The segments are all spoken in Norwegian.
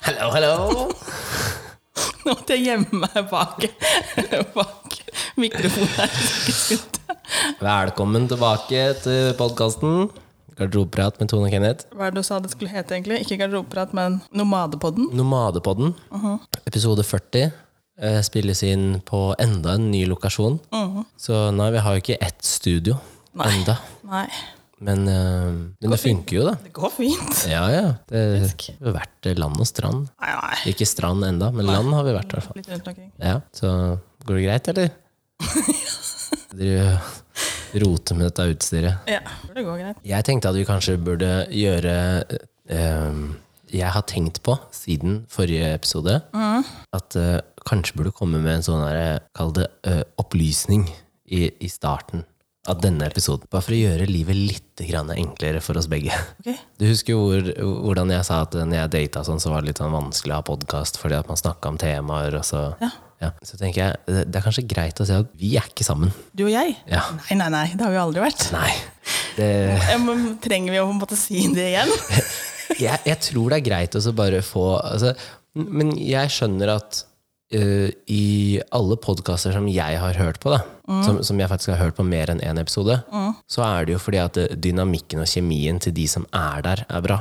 Hallo, hallo. Nå måtte jeg gjemme meg bak, bak mikrofonen. her, så ikke skulle- Velkommen tilbake til podkasten Garderobeprat med Tone og Kenneth. Hva er det du sa det skulle hete egentlig? Ikke garderobeprat, men Nomadepodden. Nomadepodden, episode 40, eh, spilles inn på enda en ny lokasjon. Så nei, vi har jo ikke ett studio Nei. enda. Nei, Men, eh, men det funker jo, da. det går fint. Ja, ja. Det vi har vært land og strand. Nei, nei. Ikke strand enda, men land har vi vært i hvert fall. Litt rundt omkring. Ja, så går det greit, eller? Dere roter med dette utstyret. Ja, det går greit. Jeg tenkte at vi kanskje burde gjøre eh, Jeg har tenkt på, siden forrige episode, at eh, kanskje burde komme med en sånn her, kall det eh, opplysning i, i starten av denne episoden. Bare for å gjøre livet litt grann enklere for oss begge. Ok. Du husker jo hvor, hvordan jeg sa at når jeg data sånn, så var det litt sånn vanskelig å ha podkast fordi at man snakka om temaer, og så Ja. Ja. Så tenker jeg, det- det er kanskje greit å si at vi er ikke sammen. Du og jeg? Ja. Nei, nei, nei. Det har vi jo aldri vært. Nei. Det Ja, men trenger vi å på en måte si det igjen? jeg, jeg tror det er greit å så bare få altså, m- Men jeg skjønner at eh, i alle podkaster som jeg har hørt på, da, som, som jeg faktisk har hørt på mer enn én episode, så er det jo fordi at eh, dynamikken og kjemien til de som er der, er bra.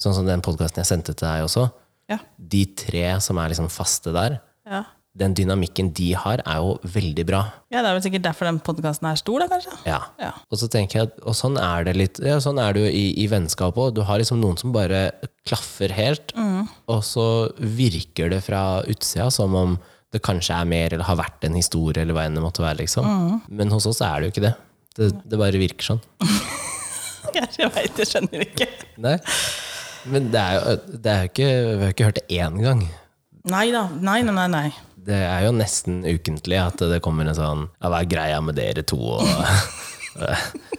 Sånn som den podkasten jeg sendte til deg også. Ja. De tre som er liksom faste der, Ja. den dynamikken de har, er jo veldig bra. ja, det er vel sikkert derfor den podkasten er stor, da, kanskje? Ja. Ja. Og så tenker jeg at og sånn er det litt ja, sånn er det jo i, i vennskap òg. Du har liksom noen som bare klaffer helt, og så virker det fra utsida som om det kanskje er mer, eller har vært en historie, eller hva enn det måtte være. liksom. Men hos oss er det jo ikke det. Det, det bare virker sånn. Kanskje jeg veit, jeg skjønner ikke. Nei. Men det er jo, det er jo ikke Vi har ikke hørt det én gang. Nei da. Nei, nei, nei. nei. Det er jo nesten ukentlig at det kommer en sånn ja, 'Hva er greia med dere to?' og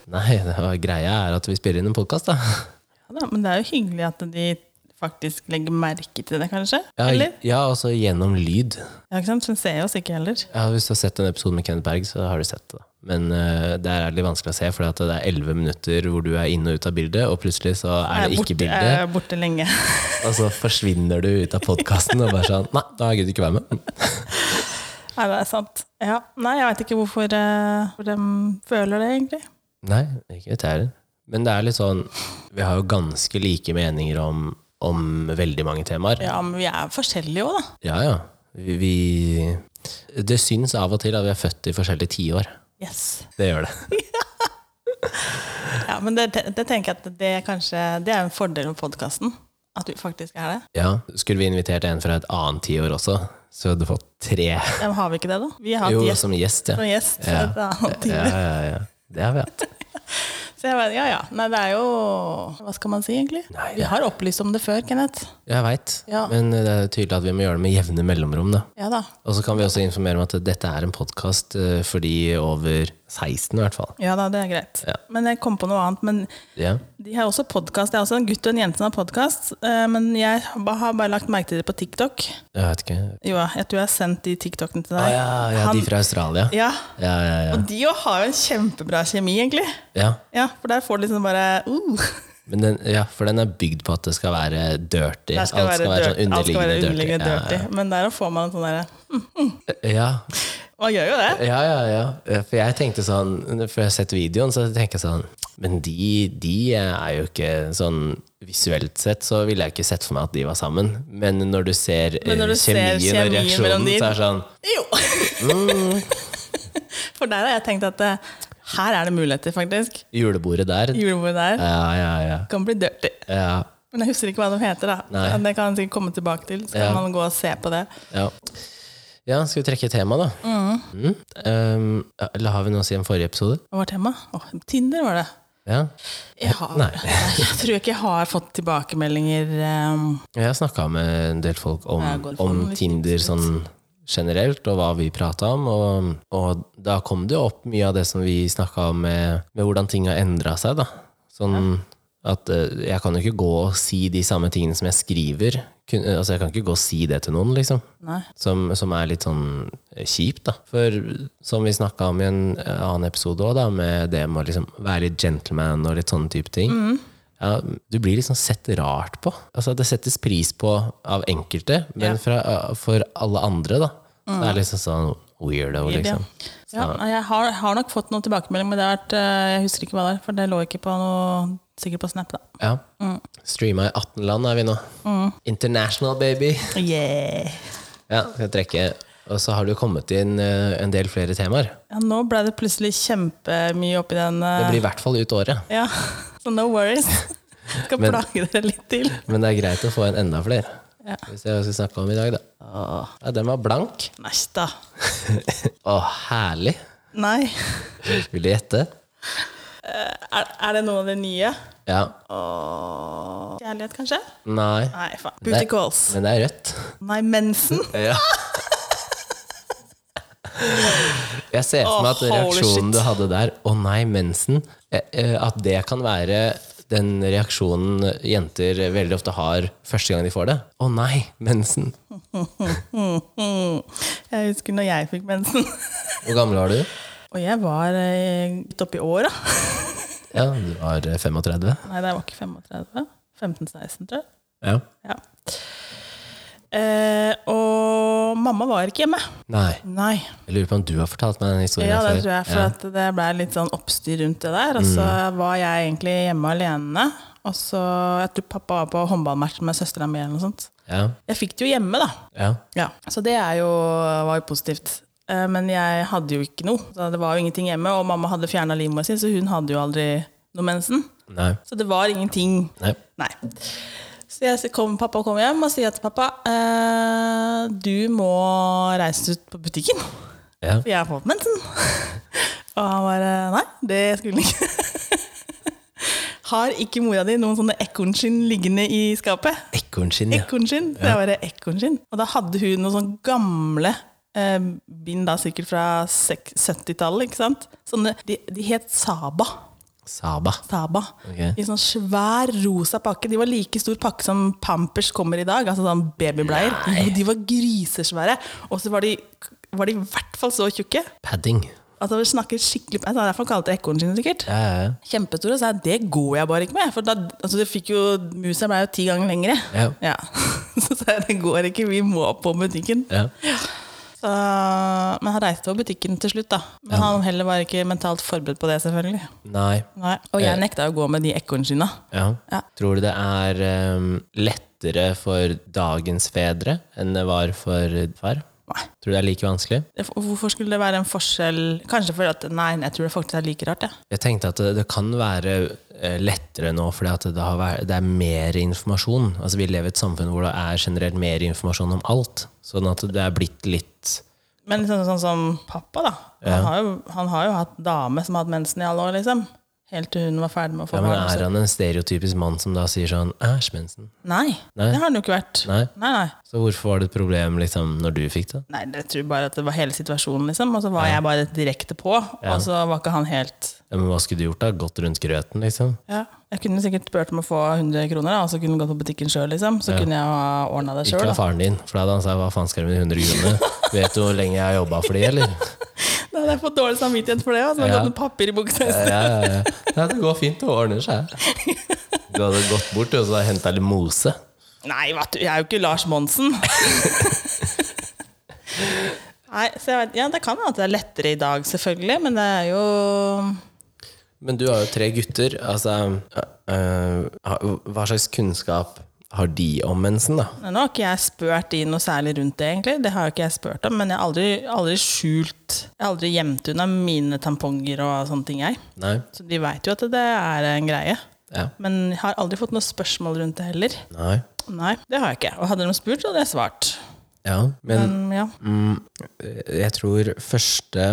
Nei, det var greia er at vi spiller inn en podkast, da. Ja, da, men det er jo hyggelig at de faktisk legger merke til det, kanskje? Ja, Eller? ja, altså gjennom lyd. Ja, ikke sant? Så ser jeg oss ikke heller. Ja, hvis du har sett en episode med Kenneth Berg, så har du sett det. da. Men eh, der er det litt vanskelig å se, for det er elleve minutter hvor du er inne og ut av bildet, og plutselig så er det ikke Jeg borte, jeg bilde, er borte lenge. og så forsvinner du ut av podkasten og bare sånn Nei, da gidder du ikke være med. Nei, det er sant. Ja. Nei, jeg veit ikke hvorfor, eh, hvor de føler det, egentlig. Nei, ikke vet jeg heller. Men det er litt sånn Vi har jo ganske like meninger om, om veldig mange temaer. Ja, men vi er forskjellige òg, da. Ja, ja. Vi, vi Det syns av og til at vi er født i forskjellige tiår. Yes. Det gjør det. Ja, men det, det tenker jeg at det er kanskje Det er en fordel med podkasten. At vi faktisk er det. Ja, Skulle vi invitert en fra et annet tiår også, så hadde du fått tre Ja, men har vi ikke det, da? Vi har jo, hatt gjest som gjest. og Ja. gjest. Ja. et annet Ja, tiår. ja, ja. Det har vi hatt. Så jeg vet, ja, ja. Nei, det er jo Hva skal man si, egentlig? Nei, Vi det- har opplyst om det før, Kenneth. Jeg veit. Ja. Men eh, det er tydelig at vi må gjøre det med jevne mellomrom. da. Ja da. Og så kan vi også informere om at dette er en podkast for de over 16, i hvert fall. Ja da, det er greit. Ja. Men jeg kom på noe annet. Men Ja. de har også podkast. Det er også en gutt og en jente som har podkast. Men jeg ba- har bare lagt merke til det på TikTok. Jeg vet ikke. Jo, jeg tror jeg har sendt de TikTokene til deg. Ah, ja, ja, Han- de fra Australia. ja. Ja, ja, ja. Og de jo har jo en kjempebra kjemi, egentlig. ja. Ja, For der får du liksom bare uh, Men den, ja, for den er bygd på at det skal være dirty. der skal Alt skal være dirty- sånn alt skal være underliggende dirty. underliggende dirty. Men der får man en sånn derre Ja, Man gjør jo det. Ja, ja, ja. For jeg tenkte sånn, før jeg har sett videoen, så tenker jeg sånn Men de, de er jo ikke sånn Visuelt sett så ville jeg ikke sett for meg at de var sammen. Men når du ser, eh, Men når du ser kjemien og kjemi reaksjonen, mellom de- så er det sånn Jo! Mm. For der har jeg tenkt at eh, her er det muligheter, faktisk. Julebordet der. Julebordet der Ja, ja, ja. kan bli dirty. ja, Men jeg husker ikke hva de heter, da. Nei. Men Det kan jeg sikkert komme tilbake til. Så kan Ja. man gå og se på det. ja. Ja, Skal vi trekke tema, da? Mm. Um, ja, eller har vi noe å si om forrige episode? Hva var temaet? Åh, Tinder, var det. Ja. Jeg, har, Nei. jeg tror ikke jeg har fått tilbakemeldinger ehm, Jeg snakka med en del folk om, Jeg går for om noe Tinder sånn generelt, og hva vi prata om. Og, og da kom det jo opp mye av det som vi snakka om, med, med hvordan ting har endra seg. da. Sånn at eh, jeg kan jo ikke gå og si de samme tingene som jeg skriver. Kun, altså Jeg kan ikke gå og si det til noen, liksom. Nei. Som, som er litt sånn kjipt, da. For som vi snakka om i en annen episode òg, med det med å liksom være litt gentleman og litt sånne type ting, ja, du blir liksom sett rart på. Altså, det settes pris på av enkelte, men Ja. fra, for alle andre, da. Så det er liksom sånn weirdo, liksom. Ja, nei, jeg har, har nok fått noen tilbakemelding, men det har vært, eh, jeg husker ikke hva det er. For det lå ikke på noe Sikkert på Snap, da. Ja. Streama i 18 land er vi nå. International, baby! Yeah. Ja, skal jeg trekke. Og så har det jo kommet inn eh, en del flere temaer. Ja, nå ble det plutselig kjempemye oppi den eh, Det blir i hvert fall ut året. Ja, Så no worries. Skal plage dere litt til. Men det er greit å få en enda flere. Ja. Hvis jeg skal snakke om i dag, da. Ja, den var blank. Nei da. Å, herlig! Nei. Vil du gjette? Er, er det noen av de nye? Ja. Åh. Kjærlighet, kanskje? Nei. Nei, faen. Booty calls. Men det er rødt. Nei, mensen. Ja. Jeg ser for meg at Åh, holy reaksjonen shit. du hadde der, 'å nei, mensen', eh, eh, at det kan være den reaksjonen jenter veldig ofte har første gang de får det. 'Å nei, mensen'. Mm. Jeg husker når jeg fikk mensen. Hvor gammel var du? Og jeg var eh, litt oppi åra. Ja, du var eh, 35. Nei, det var ikke 35. 15-16, tror jeg. Ja. Ja. Eh, og mamma var ikke hjemme. Nei. Nei. Jeg lurer på om du har fortalt meg den historien Ja, Mm. det før. tror jeg, for at det ble litt sånn oppstyr rundt det der. Og så var jeg egentlig hjemme alene. Og så, Jeg tror pappa var på håndballmatch med søstera mi. eller noe sånt. Ja. Jeg fikk det jo hjemme, da. Ja. Ja, Så det er jo, var jo positivt. Eh, Men jeg hadde jo ikke noe. Så det var jo ingenting hjemme, og mamma hadde fjerna livmora si, så hun hadde jo aldri noe mensen. Nei. Så det var ingenting. Nei. Nei. Så jeg kom, pappa kom hjem og sier til pappa eh, du må reise ut på butikken, Ja. for jeg har fått mensen. Og han bare nei, det skulle han ikke. Har ikke mora di noen sånne ekornskinn liggende i skapet? Ekornskinn, ja. Ekornskinn. Det var det ekornskinn. Og da hadde hun noen sånne gamle eh, bind, da sikkert fra sek- 70-tallet, ikke sant? Sånne, de, de het Saba. Saba. Saba. Ok. I sånn svær rosa pakke. De var like stor pakke som Pampers kommer i dag. Altså sånn babybleier. Jo, de var grisesvære. Og så var de, var de i hvert fall så tjukke. Padding. Altså, vi snakker skikkelig altså, Det er derfor han kalte det ekornskinn, sikkert. Ja, ja, Kjempestore. Så jeg, det går jeg bare ikke med. For da, altså, det fikk jo, musa ble jo ti ganger lengre. ja. Ja. Så sa jeg det går ikke, vi må på butikken. Ja. Så, men han reiste over butikken til slutt, da. Men han heller var ikke mentalt forberedt på det, selvfølgelig. Nei. Nei. Og Eh. jeg nekta å gå med de ekornskinna. Ja. Ja. Tror du det er ehm, lettere for dagens fedre enn det var for far? Nei. Tror du det er like vanskelig? Det- Hvorfor skulle det være en forskjell? Kanskje fordi at Nei, jeg tror det faktisk er like rart, jeg. Jeg tenkte at det, det kan være eh, lettere nå fordi at det, har vært, det er mer informasjon. Altså Vi lever i et samfunn hvor det er generelt mer informasjon om alt. Sånn at det er blitt litt Men liksom, sånn som pappa, da. Han, har jo, han har jo hatt dame som har hatt mensen i alle år, liksom. Helt til hun var ferdig med å få ja, men barn. Er så- han en stereotypisk mann som da sier sånn Æsj, mensen. Nei, det har han jo ikke vært. Nei. Nei, nei. Så hvorfor var det et problem liksom, når du fikk det? Nei, jeg tror bare at det var hele situasjonen, liksom. Og så var jeg bare direkte på, og så var ikke han helt Ja, men Hva skulle du gjort da? Gått rundt grøten, liksom? ja. Jeg kunne sikkert spurt om å få 100 kroner, da, og så kunne han gått på butikken sjøl, liksom. Så kunne jeg ha ordna det Ikke sjøl. av faren din, for da hadde han sagt 'hva faen skal du med de 100 kronene'? Vet du hvor lenge jeg har jobba for de, eller? Da hadde jeg fått dårlig samvittighet for det, og så hadde jeg Ja. fått noe papir i buksa. i Ja, ja, ja. Nei, det går fint, det ordner seg. Du hadde gått bort og så henta litt mose. Nei, vet du, jeg er jo ikke Lars Monsen. Nei, så jeg vet, ja, Det kan hende at det er lettere i dag, selvfølgelig, men det er jo Men du har jo tre gutter. Altså, øh, øh, hva slags kunnskap har de om mensen, da? Nå har ikke jeg spurt de noe særlig rundt det, egentlig. Det har jo ikke jeg spurt om, men jeg har aldri, aldri skjult Jeg har aldri gjemt unna mine tamponger og sånne ting, jeg. Nei? Så de veit jo at det er en greie. Ja. Men jeg har aldri fått noe spørsmål rundt det heller. Nei. Nei, det har jeg ikke. Og hadde de spurt, så hadde jeg svart. Ja. Men Men ja. mm, jeg tror første,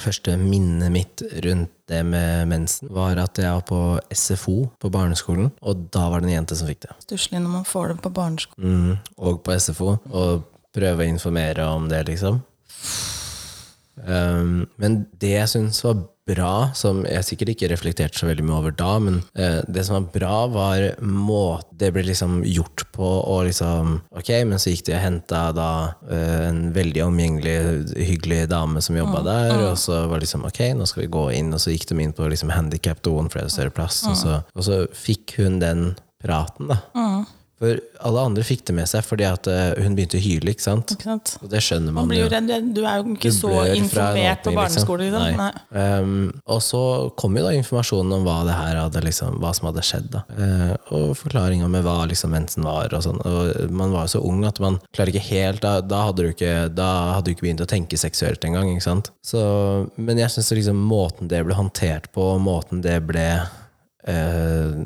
første minnet mitt rundt det med mensen, var at jeg var på SFO på barneskolen, og da var det en jente som fikk det. Stusslig når man får det på barneskolen. Mm, og på SFO, og prøve å informere om det, liksom. Um, men det jeg syns var bra, som jeg sikkert ikke reflekterte så veldig mye over da, men eh, det som var bra, var måte det ble liksom gjort på, og liksom Ok, men så gikk de og henta da eh, en veldig omgjengelig, hyggelig dame som jobba der, og så var det liksom ok, nå skal vi gå inn, og så gikk de inn på liksom handikapdoen, for det er jo større plass, og, så, og så fikk hun den praten, da. For alle andre fikk det med seg, fordi at eh, hun begynte å hyle, ikke sant? Ikke sant? Og det skjønner man, Man blir jo redd, du er jo ikke Du så blør fra en informert på åpning, liksom. barneskolen. Liksom. Nei. Nei. Um, og så kom jo da informasjonen om hva det her hadde liksom, hva som hadde skjedd. da Eh, Og forklaringa med hva liksom mensen var og sånn. Og man var jo så ung at man klarer ikke helt Da, da, hadde, du ikke, da hadde du ikke begynt å tenke seksuelt engang. ikke sant? Så, men jeg syns liksom måten det ble håndtert på, og måten det ble eh,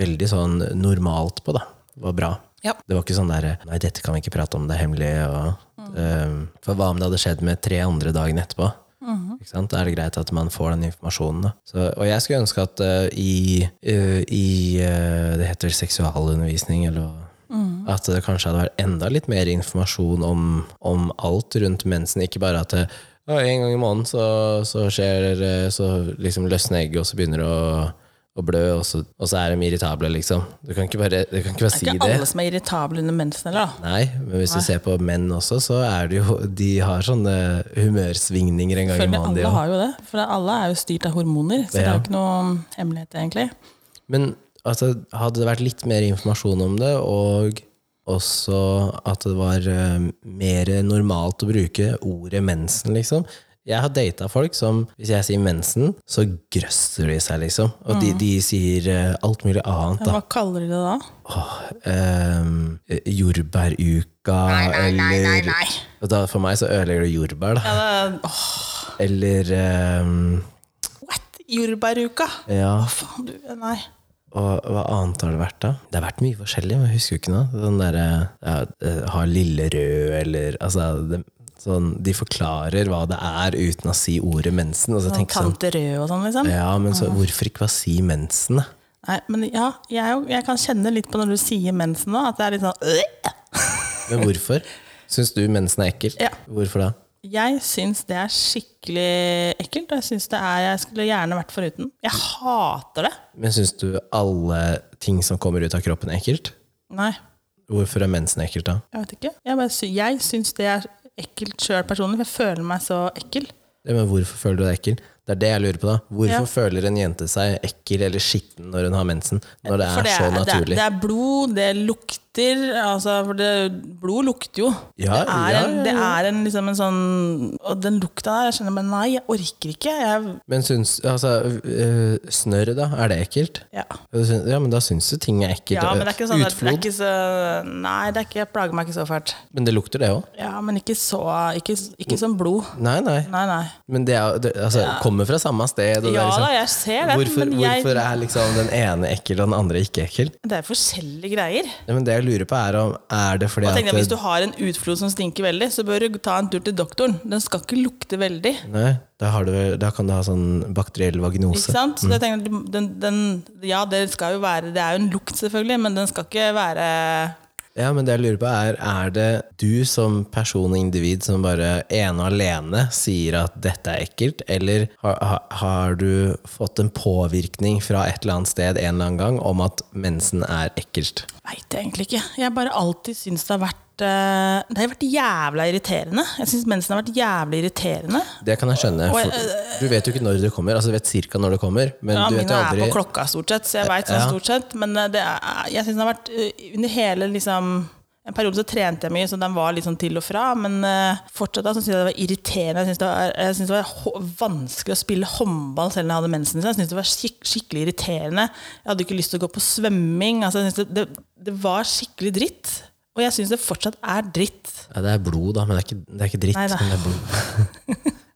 veldig sånn normalt på, da, var bra. Ja. Det var ikke sånn der Nei, dette kan vi ikke prate om, det er hemmelig. Og, Mm. eh, for hva om det hadde skjedd med tre andre dagen etterpå? Mhm. Ikke sant? Da er det greit at man får den informasjonen. Da. Så, og jeg skulle ønske at eh, i, eh, i eh, Det heter seksualundervisning, eller hva? Mm. At det kanskje hadde vært enda litt mer informasjon om, om alt rundt mensen. Ikke bare at det, «Å, en gang i måneden så, så skjer eh, Så liksom løsner egget, og så begynner det å, å blø, og så, og så er de irritable, liksom. Du kan ikke bare, du kan ikke bare Det er si ikke det. alle som er irritable under mensen heller, da. Nei, men hvis du ser på menn også, så er det jo De har sånne humørsvingninger en gang i Føler måneden. de alle også. har jo det, for alle er jo styrt av hormoner. Så det Ja. er jo ikke noe hemmelighet, egentlig. Men altså, hadde det vært litt mer informasjon om det, og også at det var eh, mer normalt å bruke ordet mensen, liksom. Jeg har data folk som hvis jeg sier mensen, så grøsser de seg, liksom. Og Mm. de, de sier eh, alt mulig annet, da. Hva kaller de det da? Åh, ehm, eh, jordbæruka, eller nei. Og da, For meg så ødelegger det jordbær, da. Ja, det, åh, Eller ehm, what? Jordbæruka? Ja. Faen, du Nei. Og hva annet har det vært, da? Det har vært mye forskjellig, men jeg husker jo ikke noe. Den derre ja, eh, Ha lille rød, eller Altså, det, sånn De forklarer hva det er uten å si ordet mensen. Og så tenker jeg sånn Tante Rød og sånn, liksom. Ja, men så hvorfor ikke bare si mensen, da? Nei, men ja, jeg, er jo- jeg kan kjenne litt på når du sier mensen nå, at det er litt sånn øh. Men hvorfor? Syns du mensen er ekkelt? Ja. Hvorfor da? Jeg syns det er skikkelig ekkelt, og jeg syns det er Jeg skulle gjerne vært foruten. Jeg hater det. Men syns du alle ting som kommer ut av kroppen, er ekkelt? Nei, Hvorfor er mensen ekkelt, da? jeg vet ikke. Jeg, bare sy jeg syns det er ekkelt sjøl personlig, for jeg føler meg så ekkel. Ja, men hvorfor føler du deg ekkel? Det er det jeg lurer på, da. Hvorfor Ja. føler en jente seg ekkel eller skitten når hun har mensen? Når det For er så det, er, naturlig. det er blod, det lukter altså, For det, blod lukter jo. Ja, det er, ja, en, ja, det er en, liksom en sånn Og den lukta der, jeg skjønner bare Nei, jeg orker ikke. Jeg, Men syns altså, øh, Snørr, da? Er det ekkelt? ja. Ja, du syns- Ja, men da syns du ting er ekkelt. ja, men det er ikke sånn at det Utflod. er ikke så Nei, det er ikke, jeg plager meg ikke så fælt. Men det lukter, det òg. Ja, men ikke så Ikke, ikke som blod. Nei, nei. Nei, nei. Men det, er, det altså, kommer fra samme sted. Og det Ja er liksom, da, jeg ser det, hvorfor, men jeg- hvorfor er liksom den ene ekkel og den andre ikke ekkel? Det er forskjellige greier. Nei, men det jeg lurer på, er om er det fordi Og tenk at deg, Hvis du har en utflod som stinker veldig, så bør du ta en tur til doktoren. Den skal ikke lukte veldig. Nei, da, har du, vel- da kan du ha sånn bakteriell vaginose. Ikke sant? Så jeg tenker, du- den, den, ja, det skal jo være Det er jo en lukt, selvfølgelig, men den skal ikke være Ja, men det jeg lurer på er, er det du som person og individ som bare ene og alene sier at dette er ekkelt, eller har, har- har du fått en påvirkning fra et eller annet sted en eller annen gang om at mensen er ekkelt? Veit jeg egentlig ikke. Jeg har bare alltid syns det har vært eh, Det har vært jævla irriterende. Jeg syns mensen har vært jævlig irriterende. Det kan jeg skjønne. For du vet jo ikke når det kommer, altså du vet cirka når det kommer, men eh, Ja, du mine vet jo er aldri på klokka stort sett, så jeg veit sånn Ja. stort sett. Men eh, det er, jeg syns den har vært eh, Under hele liksom en periode så trente jeg mye, så den var litt sånn til og fra. Men eh, fortsatt da så syntes jeg det var irriterende. Jeg syntes det var, jeg syntes det var hå- vanskelig å spille håndball selv når jeg hadde mensen. Så jeg syntes det var skik skikkelig irriterende. Jeg hadde ikke lyst til å gå på svømming. Altså, jeg syntes det, det, det var skikkelig dritt. Og jeg syns det fortsatt er dritt. ja, Det er blod, da, men det er ikke, det er ikke dritt. Nei da. Men det er blod.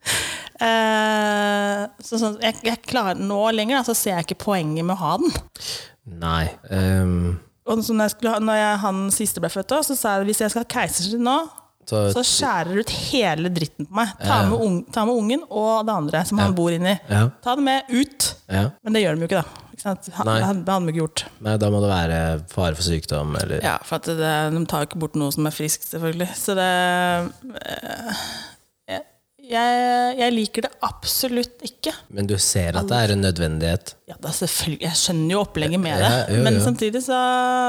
Eh, så sånn, jeg, jeg klarer Nå lenger da, så ser jeg ikke poenget med å ha den. Nei. ehm, Og så når, jeg skulle, ha- når jeg, han siste ble født, også, så sa jeg at hvis jeg skal ha keisersnitt nå, så, så skjærer du ut hele dritten på meg. Ta med, ung, ta med ungen og det andre som han bor inni. Ja. Ta det med ut. ja. Men det gjør de jo ikke, da. Ikke sant? Han, Nei. det hadde det hadde de ikke gjort. Nei, da må det være fare for sykdom, eller Ja, for at det, de tar jo ikke bort noe som er friskt, selvfølgelig. Så det eh, jeg, Jeg, jeg liker det absolutt ikke. Men du ser at det er en nødvendighet. Ja, da selvfølgelig, Jeg skjønner jo opplegget med det, Ja, jo, jo. men samtidig så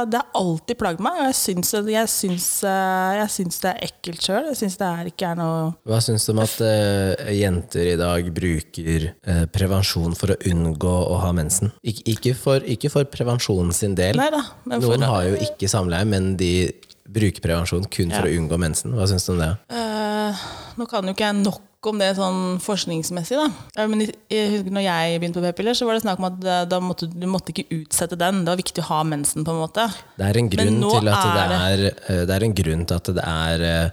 Det har alltid plaget meg, og jeg syns, at- jeg syns, eh, jeg syns det er ekkelt sjøl. Jeg syns det er ikke er noe Hva syns du om at eh, jenter i dag bruker eh, prevensjon for å unngå å ha mensen? Ik ikke, for, ikke for prevensjonen sin del. Nei da. Men for, Noen har jo ikke samleie, men de bruker prevensjon kun for å unngå mensen. Hva syns du om det? Eh, nå kan jo ikke jeg nok om det sånn forskningsmessig, da. Eh, Men i- jeg husker når jeg begynte på p-piller, så var det snakk om at eh, da måtte, du måtte ikke utsette den. Det var viktig å ha mensen, på en måte. Det er en grunn nå til at det er, eh, det er, en grunn til at det er eh,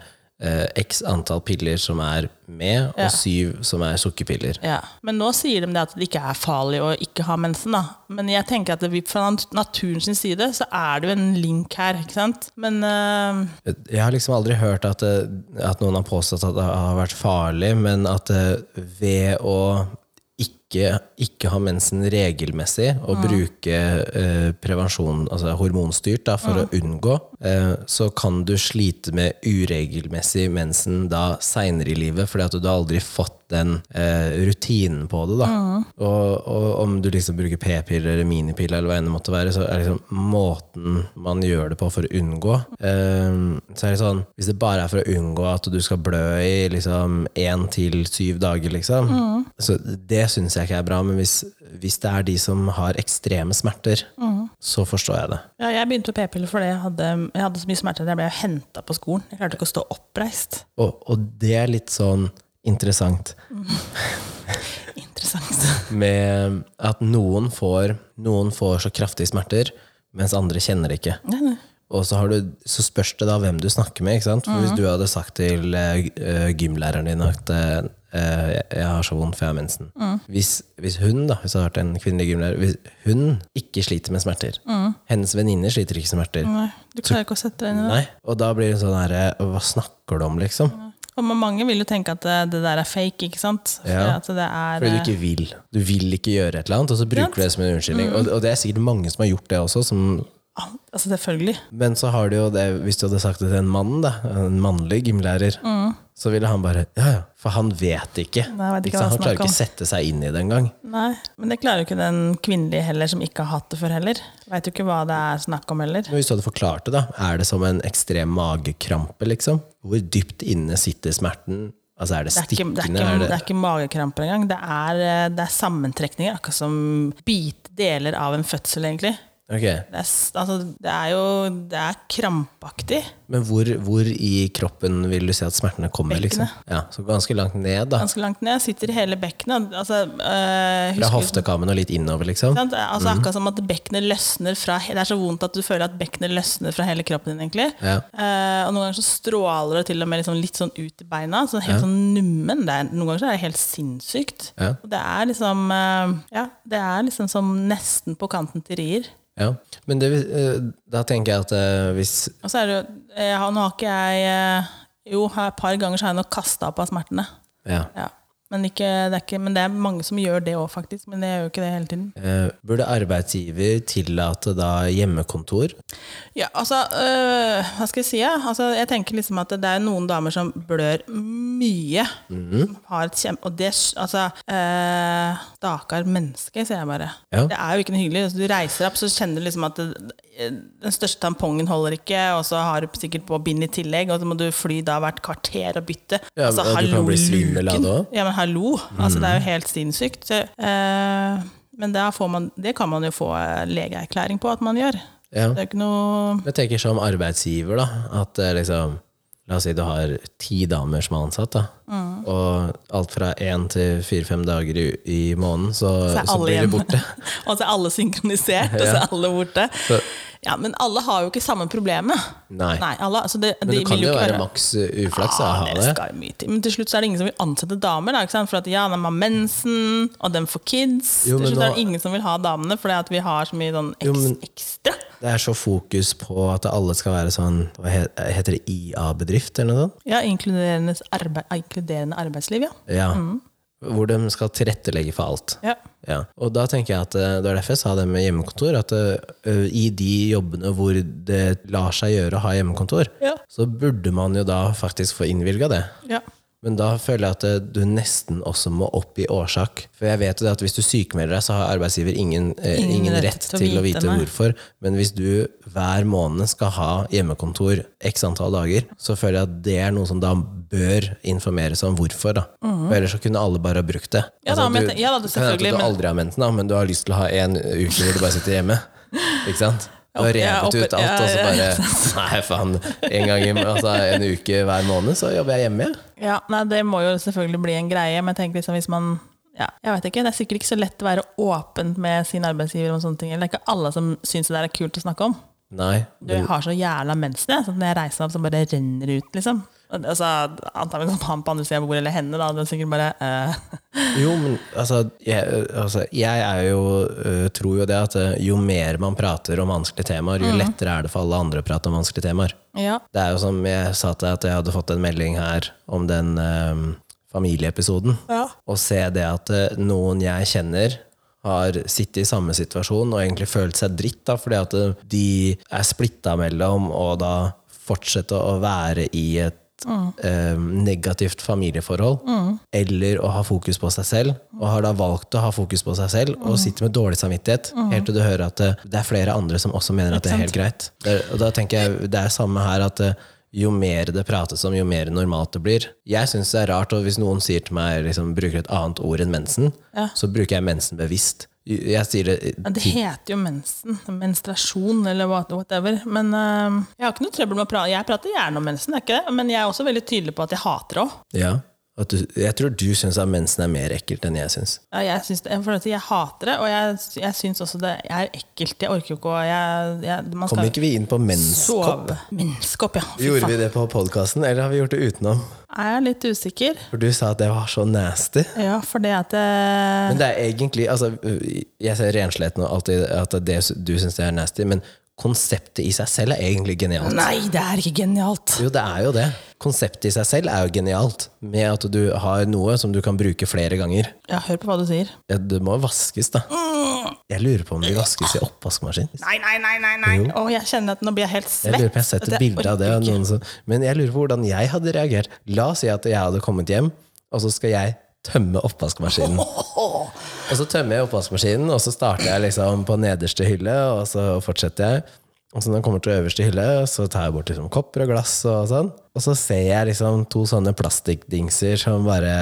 x antall piller som er med, og syv som er sukkerpiller. Ja. Men nå sier de det at det ikke er farlig å ikke ha mensen. da. Men jeg tenker at det, vi- fra nat- naturen sin side så er det jo en link her, ikke sant. Men eh, Jeg har liksom aldri hørt at, det, at noen har påstått at det har vært farlig, men at eh, ved å ikke, ikke ha mensen regelmessig og bruke eh, prevensjon, altså hormonstyrt, da, for å unngå, eh, så kan du slite med uregelmessig mensen da seinere i livet, fordi at du har aldri fått den eh, rutinen på det. da. Og, og om du liksom bruker p-piller eller minipiller, eller hva enn det måtte være, så er liksom måten man gjør det på for å unngå eh, Så er det sånn, Hvis det bare er for å unngå at du skal blø i liksom én til syv dager, liksom, så det syns jeg ikke er bra. Men hvis, hvis det er de som har ekstreme smerter, så forstår jeg det. ja, jeg begynte på p-piller fordi jeg hadde, jeg hadde så mye smerter at jeg ble henta på skolen. Jeg klarte ikke å stå oppreist. Og, og det er litt sånn interessant. Interessant. med at noen får, noen får så kraftige smerter, mens andre kjenner det ikke. Og så, har du, så spørs det da hvem du snakker med. Ikke sant? For Hvis du hadde sagt til eh, g- eh, gymlæreren din at eh, eh, jeg- jeg har så vondt, for jeg har mensen. Hvis, hvis hun da, hvis jeg har vært en kvinnelig gymlærer, hvis hun ikke sliter med smerter, hennes venninner sliter ikke med smerter, Nei, du klarer ikke å sette deg inn i det. Nei. og da blir det sånn herre Hva snakker du om, liksom? Og ma- mange vil jo tenke at det, det der er fake, ikke sant? For Ja. at det er, Fordi du ikke vil. Du vil ikke Mm. gjøre et eller annet, og så bruker du det som en unnskyldning. Og, og det er sikkert mange som har gjort det også, som eh, Altså, selvfølgelig. Men så har du jo det, hvis du hadde sagt det til en mann, da, en mannlig gymlærer, så ville han bare Ja, ja, for han vet ikke. Mm. Nei, jeg vet ikke sant? hva han klarer han snakker om. ikke å sette seg inn i det engang. Nei. Men det klarer jo ikke den kvinnelige heller, som ikke har hatt det før heller. Veit jo ikke hva det er snakk om heller. Men hvis du hadde forklart det, da, er det som en ekstrem magekrampe, liksom? Hvor dypt inne sitter smerten? Altså, er det Det er, ikke, stikkende? det, er ikke, det er ikke magekramper engang. Det er, eh, det er sammentrekninger, akkurat som bit deler av en fødsel, egentlig. Ok. Det er, s- altså, det er jo det er krampaktig. Men hvor, hvor i kroppen vil du se at smertene kommer? liksom? Ja, Så ganske langt ned, da. Ganske langt ned. Sitter i hele bekkenet. Altså, eh, Fra husker- hoftekammen og litt innover, liksom? Sant? Altså Akkurat som at bekkenet løsner fra he- Det er så vondt at du føler at bekkenet løsner fra hele kroppen din, egentlig. Ja. Eh, og noen ganger så stråler det til og med liksom litt sånn ut i beina. Sånn helt sånn nummen. Det er, noen ganger så er det helt sinnssykt. Ja. Og det er liksom eh, Ja, det er liksom som nesten på kanten til rier. Ja. Men det, vil- eh, da tenker jeg at eh, hvis Og så er det jo eh, jeg har- Nå har ikke jeg eh, Jo, her et par ganger så har jeg nok kasta opp av smertene. Ja. Ja. Men, ikke, det er ikke, men det er mange som gjør det òg, faktisk. Men jeg gjør jo ikke det hele tiden. Eh, Burde arbeidsgiver tillate da hjemmekontor? Ja, altså, øh, hva skal jeg si? Ja? Altså, jeg tenker liksom at det er noen damer som blør mye. Mhm. Som har et kjempe... Og det Altså, øh, stakkar menneske, sier jeg bare. Ja. Det er jo ikke noe hyggelig. Altså, du reiser opp, så kjenner du liksom at det, den største tampongen holder ikke, og så har du sikkert på bind i tillegg, og så må du fly da hvert kvarter og bytte. Ja, altså, men du kan hallo, bli svimmel av det luken. også. Mhm. Ja, men hallo. Altså, det er jo helt sinnssykt. Så, øh, men da får man, det kan man jo få øh, legeerklæring på at man gjør. Ja. Det er jo ikke noe Jeg tenker som arbeidsgiver, da. At eh, liksom La oss si du har ti damer som er ansatt, da. Mm. Og alt fra én til fire-fem dager i, i måneden, så, Eh, så, Så er alle blir det hjemme. borte. og så er alle synkronisert, og så er alle borte. Ja, Men alle har jo ikke samme problemet. Nei. Nei alle, altså det, Men de det kan vil jo ikke være maks eh, uflaks å Ja, ha det det. skal jo mye til. Men til slutt så er det ingen som vil ansette damer. Da, ikke sant? For at ja, de har mensen, og de får kids. Jo, men til slutt er nå- det ingen som vil ha damene, fordi at vi har så mye sånn eks, ekstra. Det er så fokus på at alle skal være sånn Hva he- heter det? IA-bedrift, eller noe sånt? Ja, inkluderende, arbeid, inkluderende arbeidsliv, ja. Ja. Mm. Hvor de skal tilrettelegge for alt. ja. Ja, og da tenker jeg at eh, Det var derfor jeg sa det med hjemmekontor. At eh, i de jobbene hvor det lar seg gjøre å ha hjemmekontor, Ja. så burde man jo da faktisk få innvilga det. ja. Men da føler jeg at eh, du nesten også må opp i årsak. For jeg vet jo det at hvis du sykemelder deg, så har arbeidsgiver ingen, eh, ingen, rett til, å vite nei. hvorfor. Men hvis du hver måned skal ha hjemmekontor x antall dager, så føler jeg at det er noe som da bør informeres om hvorfor. da. For ellers så kunne alle bare ha brukt det. Mhm. Altså, Ja da, du, men- ja da, det kan hende selvfølgelig, at du men- aldri har mensen, da, men du har lyst til å ha en uke hvor du bare sitter hjemme. Ikke sant? Du har Jeg revet opp- ut alt, og så jeg- bare Nei, faen. En gang i, altså, en uke hver måned, så jobber jeg hjemme. jeg. Ja, nei, det må jo selvfølgelig bli en greie, men tenk liksom hvis man ja, jeg vet ikke, Det er sikkert ikke så lett å være åpent med sin arbeidsgiver om sånne ting. eller Det er ikke alle som syns det der er kult å snakke om. Nei. Du, jeg har så jævla mensen, jeg. Så når jeg reiser meg opp, så bare renner det ut, liksom. Og- Altså, Antakelig som han på andre siden av bordet, eller henne, da. Det er sikkert bare eh, Jo, men altså jeg, ø, altså, jeg er jo, ø, tror jo det at ø, jo mer man prater om vanskelige temaer, jo lettere er det for alle andre å prate om vanskelige temaer. Ja. Det er jo som jeg sa til deg, at jeg hadde fått en melding her om den ø, familieepisoden. Ja. Og se det at ø, noen jeg kjenner har sittet i samme situasjon og egentlig følt seg dritt, da, fordi at ø, de er splitta mellom og da fortsette å være i et ø, negativt familieforhold, eller å ha fokus på seg selv, og har da valgt å ha fokus på seg selv, og sitter med dårlig samvittighet, helt til du hører at ø, det er flere andre som også mener at det er helt greit. Det, og da tenker jeg, det er samme her at eh, ø, jo mer det prates om, jo mer normalt det blir. Jeg syns det er rart, og hvis noen sier til meg liksom, bruker et annet ord enn mensen, så bruker jeg mensen bevisst. Jeg sier det Men Det heter jo mensen. Menstruasjon eller what- whatever. Men eh, jeg har ikke noe trøbbel med å prate. Jeg prater gjerne om mensen, det er ikke det. Men jeg er også veldig tydelig på at jeg hater det òg. Ja. At du, jeg tror du syns at mensen er mer ekkelt enn jeg syns. Ja, jeg, syns det, jeg, får lov til- jeg hater det, og jeg, jeg syns også det er ekkelt. Jeg orker jo ikke å jeg, jeg, Man Kom skal ikke vi inn på menskopp? sove. Menneskeopp, ja. Fy Gjorde faen. vi det på podkasten, eller har vi gjort det utenom? Er jeg litt usikker? For du sa at det var så nasty. Ja, for det at eh, Men det er egentlig altså, Jeg ser rensligheten og alltid at det du syns det er nasty, men konseptet i seg selv er egentlig genialt. Nei, det er ikke genialt! Jo, det er jo det. Konseptet i seg selv er jo genialt, med at du har noe som du kan bruke flere ganger. Ja, hør på hva du sier. Ja, Det må vaskes, da. Jeg lurer på om de vaskes i oppvaskmaskin. Nei, nei, nei, nei! nei. Å, jeg kjenner at nå blir jeg helt svett. Jeg lurer på om jeg har sett et bilde av det. Av orker jeg ikke. noen som, men jeg lurer på hvordan jeg hadde reagert. La oss si at jeg hadde kommet hjem, og så skal jeg tømme oppvaskmaskinen. Og så tømmer jeg oppvaskmaskinen, og så starter jeg liksom på nederste hylle, og så fortsetter jeg. Og så når jeg kommer til øverste hylle, så tar jeg bort liksom kopper og glass og sånn. Og så ser jeg liksom to sånne plastikkdingser som bare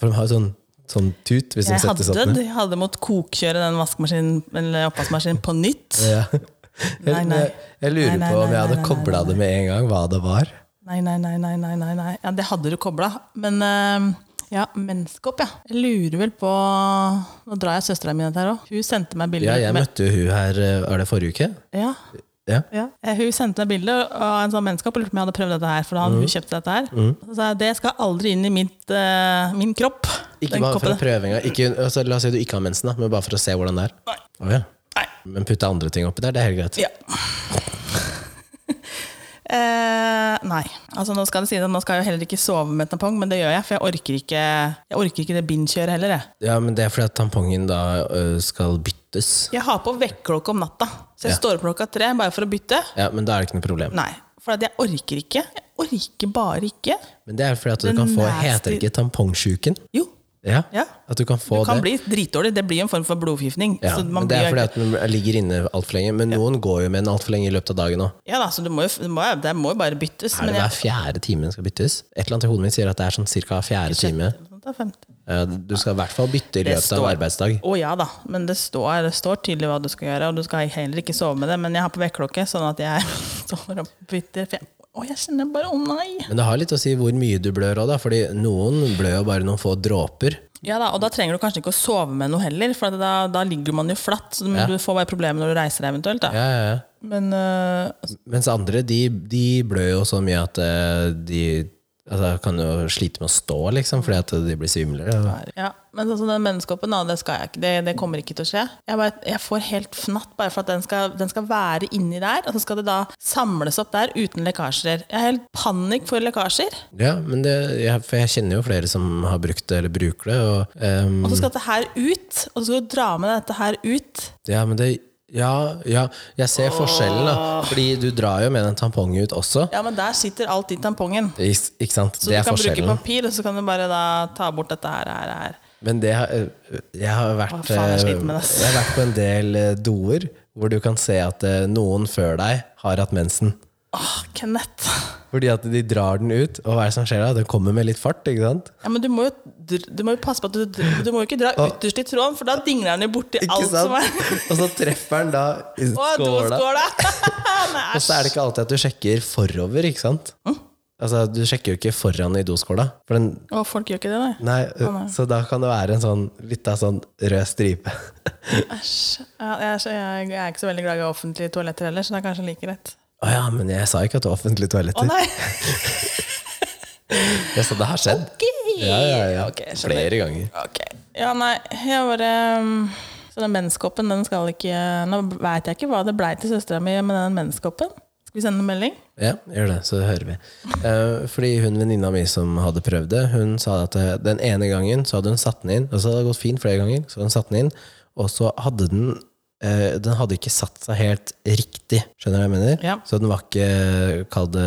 For de har jo sånn, sånn tut hvis de Jeg setter sånn hadde, jeg hadde måttet kokkjøre den vaskemaskinen eller oppvaskmaskinen på nytt. Ja. Nei, nei. Jeg, jeg lurer Nei, nei, på om nei, jeg nei, hadde nei, kobla det med en gang, hva det var. Nei, nei, nei, nei, nei, nei, nei. Ja, det hadde du kobla. Men eh, ja, menneskeopp, ja. Jeg lurer vel på Nå drar jeg søstera mi ned her òg. Hun sendte meg bilder. Ja, jeg med- møtte jo hun her, eh, var det forrige uke? ja, Ja. ja. Eh, Hun sendte meg bilder av en sånn menneskeopp. og Lurte på om jeg hadde prøvd dette her, for da hadde Mhm. hun kjøpt dette her. Så sa jeg det skal aldri inn i mitt, eh, min kropp. Ikke den bare for koppen å prøve engang. Ikke- Altså, la oss si du ikke har mensen, da, men bare for å se hvordan det er. Nei. Å, ja. Nei. Men putte andre ting oppi der, det er helt greit. Ja. Eh, nei. Altså Nå skal det sies at nå skal jeg jo heller ikke sove med tampong, men det gjør jeg, for jeg orker ikke, jeg orker ikke det bindkjøret heller. Jeg. Ja, men det er fordi at tampongen da ø, skal byttes. Jeg har på vekkerklokke om natta, så jeg Ja. står opp klokka tre bare for å bytte. Ja, men da er det ikke noe problem. Nei, for at jeg orker ikke. Jeg orker bare ikke. Men det er fordi at du Den kan få, nasty- heter det ikke tampongsjuken? Jo, Ja. Ja. At du kan få du det. kan bli dritdårlig. Det blir jo en form for blodforgiftning. ja. så Men man det er blir jo fordi ikke- at den ligger inne altfor lenge. Men noen går jo med den altfor lenge i løpet av dagen òg. Ja da, så det må jo, det må, jo- det må jo bare byttes. Er Men det jeg, hver fjerde time den skal byttes? Et eller annet i hodet mitt sier at det er sånn ca. fjerde time. Sånn, Det er femte. Ja, Du skal i hvert fall bytte i Det løpet av står- arbeidsdag. Å ja da, men det står, det står tydelig hva du skal gjøre, og du skal heller ikke sove med det. Men jeg har på vekkerklokke, sånn at jeg står og bytter. For jeg, å, jeg kjenner bare å nei! Men det har litt å si hvor mye du blør òg, da. Fordi noen blør jo bare noen få dråper. Ja da, Og da trenger du kanskje ikke å sove med noe heller, for at da, da ligger man jo flatt. Så men Du får bare problemer når du reiser eventuelt. Da. Ja, ja, ja. Men øh, altså, Mens andre, de, de blør jo så mye at eh, de altså, kan jo slite med å stå, liksom, fordi at de blir svimlere. ja. Men sånn som den menneskehoppen, da, det, skal jeg ikke, det, det kommer ikke til å skje. Jeg, bare, jeg får helt fnatt bare for at den skal, den skal være inni der, og så skal det da samles opp der uten lekkasjer. Jeg har helt panikk for lekkasjer. Ja, men det, jeg, for jeg kjenner jo flere som har brukt det, eller bruker det. Og, ehm, Og så skal dette her ut, og så skal du dra med dette her ut. ja, men det Ja, ja, jeg ser forskjellen, da. Fordi du drar jo med den tampongen ut også. Ja, men der sitter alt i tampongen. Ikke, ikke sant? Så det du er kan bruke forskjellen. papir, og så kan du bare da ta bort dette her, her, her. Men det har, øh, jeg har vært Å, faen, jeg øh, sliter med det, ass. Jeg har vært på en del øh, doer hvor du kan se at øh, noen før deg har hatt mensen. Åh, Kenneth. Fordi at de drar den ut, og hva er det som skjer da? Den kommer med litt fart, ikke sant? Ja, men du må, jo, dr- du må jo passe på at du, dr- du må jo ikke dra ytterst i tråden, for da dingler den jo borti Ikke alt som er og så treffer den da i Å, skåla. doskåla! Og så er det ikke alltid at du sjekker forover, ikke sant? Altså, du sjekker jo ikke foran i doskåla. For den, Å, folk gjør ikke det, nei. nei, Så da kan det være en sånn litt av sånn rød stripe. Æsj. Ja, jeg, er så, jeg, jeg er ikke så veldig glad i offentlige toaletter heller, så det er kanskje like greit. Å ja, men jeg sa ikke at det var offentlige Å toaletter. nei! jeg sa det har skjedd. Ja, ja, ja. Ok, jeg skjønner. Flere ganger. Ok. Ja, nei, jeg bare um, Så den menskoppen, den skal ikke Nå veit jeg ikke hva det blei til søstera mi med den menskoppen. Skal vi sende en melding? Ja, gjør det, så hører vi. Eh, fordi hun venninna mi som hadde prøvd det, hun sa at eh, den ene gangen så hadde hun satt den inn, og så hadde det gått fint flere ganger, så hadde hun satt den inn, og så hadde den eh, den hadde ikke satt seg helt riktig, skjønner du hva jeg mener? Ja. Så den var ikke, kall det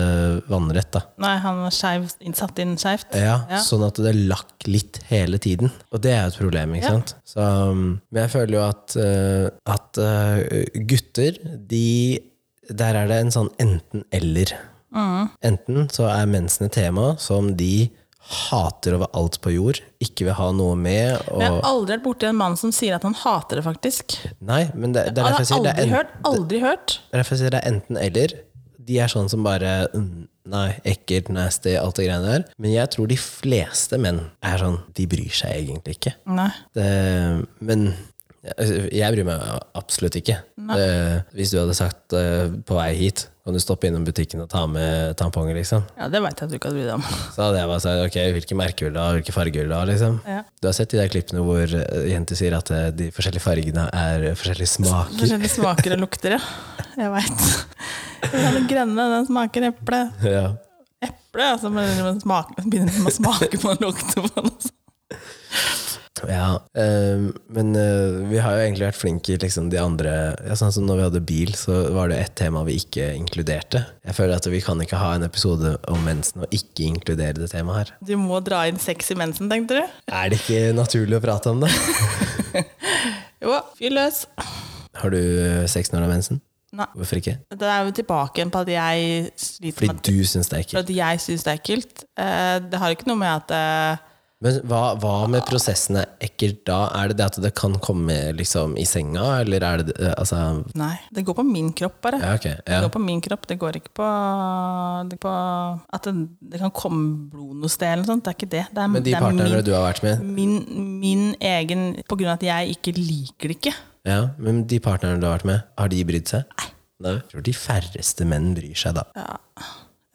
vannrett da. Nei, han var skeiv, satt inn skeivt. Ja, Ja. sånn at det lakk litt hele tiden. Og det er jo et problem, ikke Ja. sant? Så, um, men jeg føler jo at, eh, at eh, gutter, de Der er det en sånn enten-eller. Mm. Enten så er mensen et tema som de hater over alt på jord, ikke vil ha noe med. Og, Men jeg har aldri vært borti en mann som sier at han hater det, faktisk. Nei, men det, det er Han derfor har jeg sier det er aldri en- hørt. Aldri hørt. det er derfor jeg sier det er enten-eller. De er sånn som bare mm, Nei, ekkelt, nasty, alt det greiene der. Men jeg tror de fleste menn er sånn De bryr seg egentlig ikke. Nei. Det, Eh, men altså, jeg bryr meg absolutt ikke. Det, hvis du hadde sagt eh, på vei hit kan du stoppe innom butikken og ta med tamponger, liksom. Ja, det veit jeg at du ikke hadde brydd deg om. Så hadde jeg bare sagt ok, hvilke merker vil du ha, hvilke farger vil du ha, liksom. Ja. Du har sett de der klippene hvor eh, jenter sier at eh, de forskjellige fargene er eh, forskjellige smaker. Forskjellige smaker og lukter, ja. Jeg veit. Den grønne, den smaker eple. ja. Eple, og så begynner man å smake- begynner man å smake på den, lukte på den. altså. og så- ja. eh, men eh, vi har jo egentlig vært flinke i liksom, de andre ja, Sånn som når vi hadde bil, så var det ett tema vi ikke inkluderte. Jeg føler at vi kan ikke ha en episode om mensen og ikke inkludere det temaet her. Du må dra inn sex i mensen, tenkte du? Er det ikke naturlig å prate om det? Jo, fyr løs. Har du eh, sex når du har mensen? Nei. Hvorfor ikke? Det er jo tilbake igjen på at jeg sliter med Fordi du syns det er for ekkelt. at jeg syns det er ekkelt. Eh, Det har ikke noe med at eh, Men hva, hva med prosessen er ekkelt da? Er det det at det kan komme liksom i senga, eller er det eh, Altså, Nei, det går på min kropp, bare. ja, ok. Det Ja. går på min kropp, det går ikke på, det går på at det, det kan komme blod noe sted eller noe sånt. Det er ikke det. Det er, Men de det er partnerne min, du har vært med min, min egen På grunn av at jeg ikke liker det ikke. Ja, men de partnerne du har vært med, har de brydd seg? Nei. Jeg tror de færreste menn bryr seg da.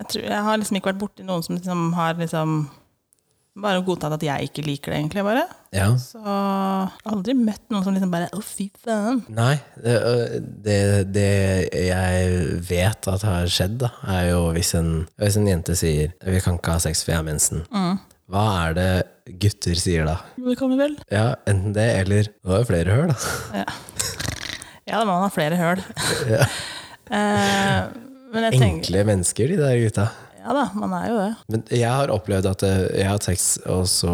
Jeg, tror, jeg har liksom ikke vært borti noen som liksom har liksom bare godtatt at jeg ikke liker det, egentlig. bare. Ja. Så jeg har aldri møtt noen som liksom bare Å, fy faen. Nei, det, ø, det, det jeg vet at har skjedd, da, er jo hvis en, hvis en jente sier 'vi kan ikke ha sex, for jeg har mensen', Mm. hva er det gutter sier da? Jo, Det kommer vel. Ja, Enten det eller Det var jo flere høl, da. Ja, ja da må man ha flere høl. Eh, men jeg tenker Enkle mennesker, de der gutta. Ja da, man er jo det. Men jeg har opplevd at eh, jeg har hatt sex, og så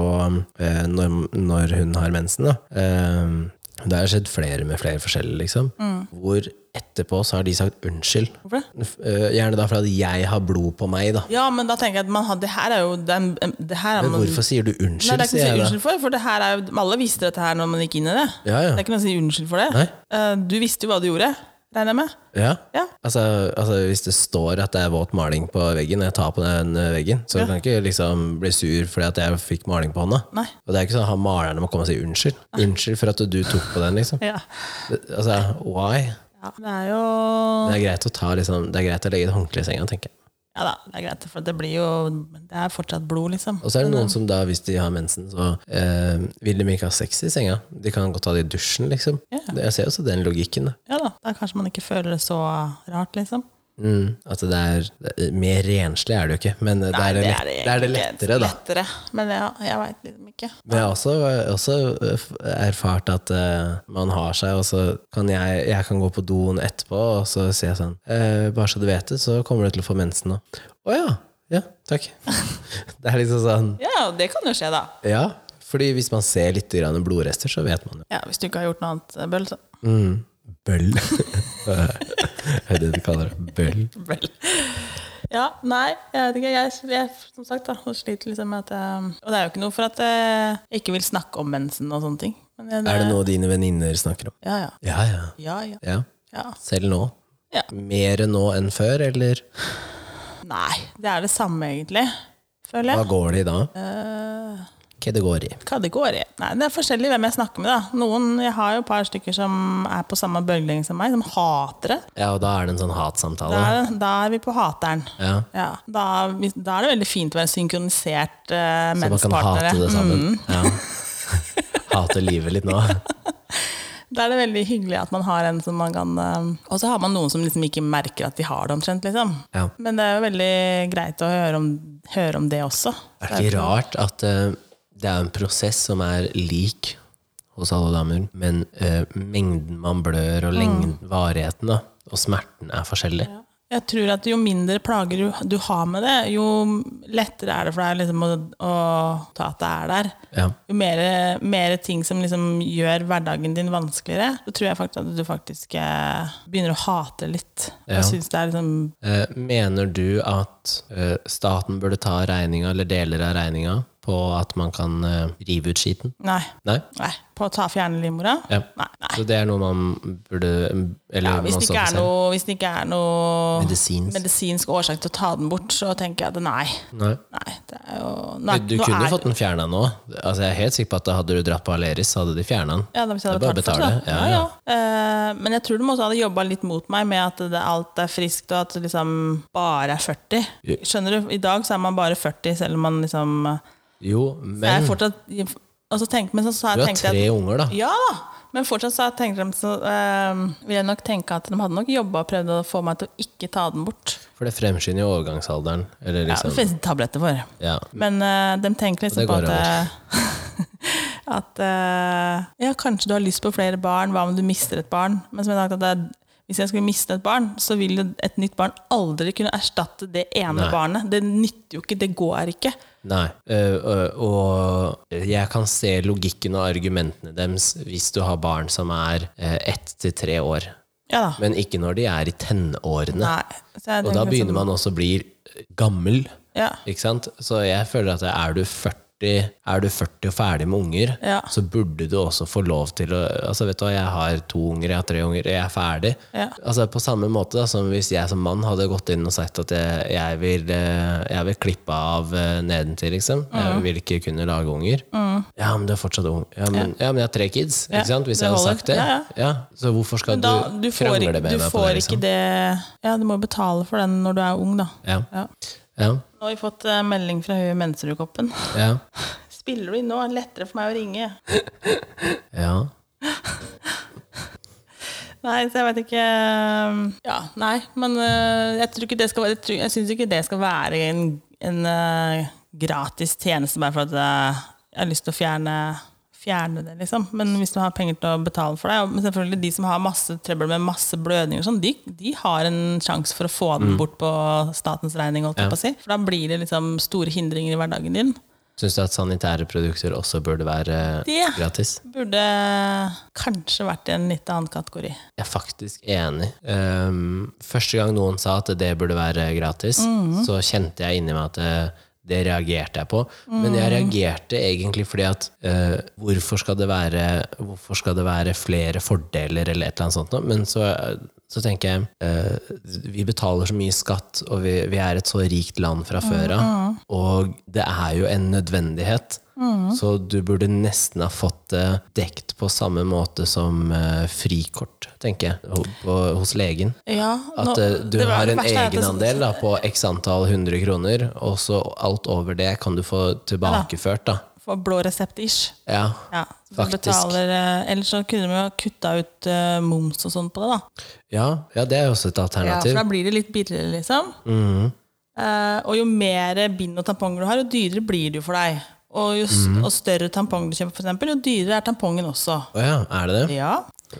eh, når, når hun har mensen, da eh, Det har skjedd flere med flere forskjellige, liksom. Mm. Hvor etterpå så har de sagt unnskyld. Hvorfor det? F- eh, Gjerne da fordi jeg har blod på meg, da. Ja, men da tenker jeg at man har, det her er jo det er, det her er Men man, hvorfor sier du Nei, unnskyld, det er ikke sier noe å si jeg da. unnskyld for, for det her er jo, alle visste dette her når man gikk inn i det. Ja, Det ja. er ikke noe å si unnskyld for det. Nei. Eh, du visste jo hva du gjorde, regner jeg med. ja. Ja. Altså, altså Hvis det står at det er våt maling på veggen, og jeg tar på den eh, veggen, så kan jeg ikke liksom bli sur fordi at jeg fikk maling på hånda. Nei. Og det er ikke sånn at han malerne må komme og si unnskyld. Unnskyld for at du tok på den, liksom. Ja. Altså, why? Det er jo Det er greit å, ta, liksom, det er greit å legge et håndkle i senga, tenker jeg. Ja da, det er greit, for det blir jo Det er fortsatt blod, liksom. Og så er det noen som da, hvis de har mensen, så eh, vil de ikke ha sex i senga. De kan godt ta det i dusjen, liksom. Ja. Jeg ser også den logikken, da. Ja da, da kanskje man ikke føler det så rart, liksom. Mm, at det er det er- Mer renslig er det jo ikke, men eh, det, Nei, er det, lett, det, er det egentlig lettere, da. Lettere, men ja, jeg veit liksom ikke. Men jeg har også, også eh, f- erfart at eh, man har seg, og så kan jeg, jeg kan gå på doen etterpå, og så sier jeg sånn eh, Bare så du vet det, så kommer du til å få mensen nå. Å ja. Ja, takk. det er liksom sånn Ja, og det kan jo skje, da. Ja. Fordi hvis man ser litt grann blodrester, så vet man jo. Ja, Hvis du ikke har gjort noe annet, eh, Bøll, så Mm. Bøll. det er det de kaller det. Bøll. Vel. Ja, nei, jeg vet ikke. Jeg, jeg som sagt, da, jeg sliter liksom med at jeg, Og det er jo ikke noe for at eh, jeg ikke vil snakke om mensen og sånne ting. Men jeg, Er det noe dine venninner snakker om? Ja, ja. Ja, ja. Ja, ja. ja. ja. Selv nå? Ja. Mer nå enn før, eller Nei, det er det samme, egentlig. Føler hva jeg. går det i da? Eh, Hva det går i? hva det går i? Nei, Det er forskjellig hvem jeg snakker med. da Noen, Jeg har jo et par stykker som er på samme bølgelengde som meg, som hater det. Ja, og da er det en sånn hatsamtale. Da er, da er vi på hateren. Ja. Ja, da, da er det veldig fint å være synkronisert uh, Så man kan hate det Mm. sammen. Ja. Hate livet litt nå. Da er det veldig hyggelig at man har en som man kan eh, Og så har man noen som liksom ikke merker at de har det omtrent, liksom. Ja. Men det er jo veldig greit å høre om, høre om det også. Er det ikke rart at eh, det er en prosess som er lik hos alle damer, men eh, mengden man blør, Mm. og lengden, varigheten da, og smerten er forskjellig? Jeg tror at jo mindre plager du, du har med det, jo lettere er det for deg liksom, å, å ta at det er der. Ja. Jo mer, mer ting som liksom gjør hverdagen din vanskeligere, så tror jeg faktisk at du faktisk eh, begynner å hate litt. Ja. Og synes det er liksom Eh, mener du at eh, staten burde ta regninga, eller deler av regninga, på at man kan eh, rive ut skiten? Nei. Nei? nei. På å ta fjerne livmora? Ja. Nei. nei. Så det er noe man burde Eller Ja, hvis, man det står ikke for er selv? noe, hvis det ikke er noe Medisinsk? medisinsk årsak til å ta den bort, så tenker jeg at nei. Nei. Nei, det er jo nå er- Du nå kunne er, fått den fjerna nå. Altså, jeg er helt sikker på at Hadde du dratt på Aleris, så hadde de fjerna den. ja, da, hvis Det jeg er hadde bare å betalt for det. betale, ja, Ja, ja. Eh, men jeg tror de også hadde jobba litt mot meg med at det, alt er friskt, og at det liksom bare er 40. Ja. Skjønner du? I dag så er man bare 40, selv om man liksom Jo, Jeg er men fortsatt Og så tenkte, men så, så du har tenkte jeg at- tre unger, da. Ja da! Men fortsatt så tenker de så, eh, vil jeg nok tenke at de hadde nok jobba og prøvd å få meg til å ikke ta den bort. For det fremskynder jo overgangsalderen. Eller Ja, det liksom, finnes det tabletter for. ja. Men eh, de tenker Og liksom det på går at eh, At eh, ja, kanskje du har lyst på flere barn, hva om du mister et barn? Men som jeg har sagt at det er, hvis jeg skulle miste et barn, så vil jo et nytt barn aldri kunne erstatte det ene Nei. barnet. Det nytter jo ikke, det går ikke. Nei. Øh, øh, og jeg kan se logikken og argumentene deres hvis du har barn som er øh, ett til tre år, Ja da. men ikke når de er i tenårene. Nei. Så jeg liksom, Og da begynner man også å bli øh, gammel. Ja. Ikke sant? Så jeg føler at er du 40 er du 40 og ferdig med unger, Ja. så burde du også få lov til å altså vet du hva, Jeg har to unger, jeg har tre unger, jeg er ferdig. Ja. Altså På samme måte da, som hvis jeg som mann hadde gått inn og sagt at jeg, jeg, vil, eh, jeg vil klippe av eh, nedentil, liksom. Mm. Jeg vil ikke kunne lage unger. Ja, men du er fortsatt ung. Ja, men, ja. men jeg har tre kids. Ja, Ikke sant? Hvis det jeg hadde holder. sagt det. Ja, ja. Så hvorfor skal Da, du, du får, krangle ikke- med du meg på får det? ikke Liksom? det Ja, du må jo betale for den når du er ung, da. Ja. Ja. Ja. Nå har vi fått eh, melding fra hun i menstrukoppen. Ja. Spiller du inn nå? Lettere for meg å ringe. ja. Nei, så jeg vet ikke eh, Ja, nei, men øh, jeg, tror ikke det skal, være- jeg, tror- jeg syns ikke det skal være en, en øh, gratis tjeneste bare for at øh, jeg har lyst til å fjerne, fjerne det, liksom. Men hvis du har penger til å betale for det og- Men selvfølgelig de som har masse trøbbel med masse blødninger og sånn, de, de har en sjanse for å få Mm. den bort på statens regning, holdt jeg på å si. For da blir det liksom store hindringer i hverdagen din. Syns du at sanitære produkter også burde være Det- gratis? Burde kanskje vært i en litt annen kategori. Jeg er faktisk enig. Ehm, første gang noen sa at det burde være gratis, så kjente jeg inni meg at det, det reagerte jeg på. Men jeg reagerte egentlig fordi at eh, hvorfor, skal det være, hvorfor skal det være flere fordeler eller et eller annet sånt noe? Men så, så tenker jeg eh, vi betaler så mye skatt, og vi, vi er et så rikt land fra før av, Mm-hmm. og det er jo en nødvendighet. Så du burde nesten ha fått det dekt på samme måte som eh, frikort, tenker jeg, ho- på, hos legen. Ja, At nå- eh, du det var- har det en verste er at det- egenandel da, på x antall 100 kroner, og så alt over det kan du få tilbakeført. da. Få var blå resept-ish. Ja. Ja, så du Faktisk. Betaler, eh, ellers så kunne vi jo kutta ut eh, moms og sånn på det, da. Ja, ja, det er jo også et Ja, for alternativ. da blir det litt billigere, liksom. Mm-hmm. Eh, og jo mer bind og tamponger du har, jo dyrere blir det jo for deg. Og jo s- Mm-hmm. og større tampong du kjøper, for eksempel, jo dyrere er tampongen også. Å ja, er det det? Ja.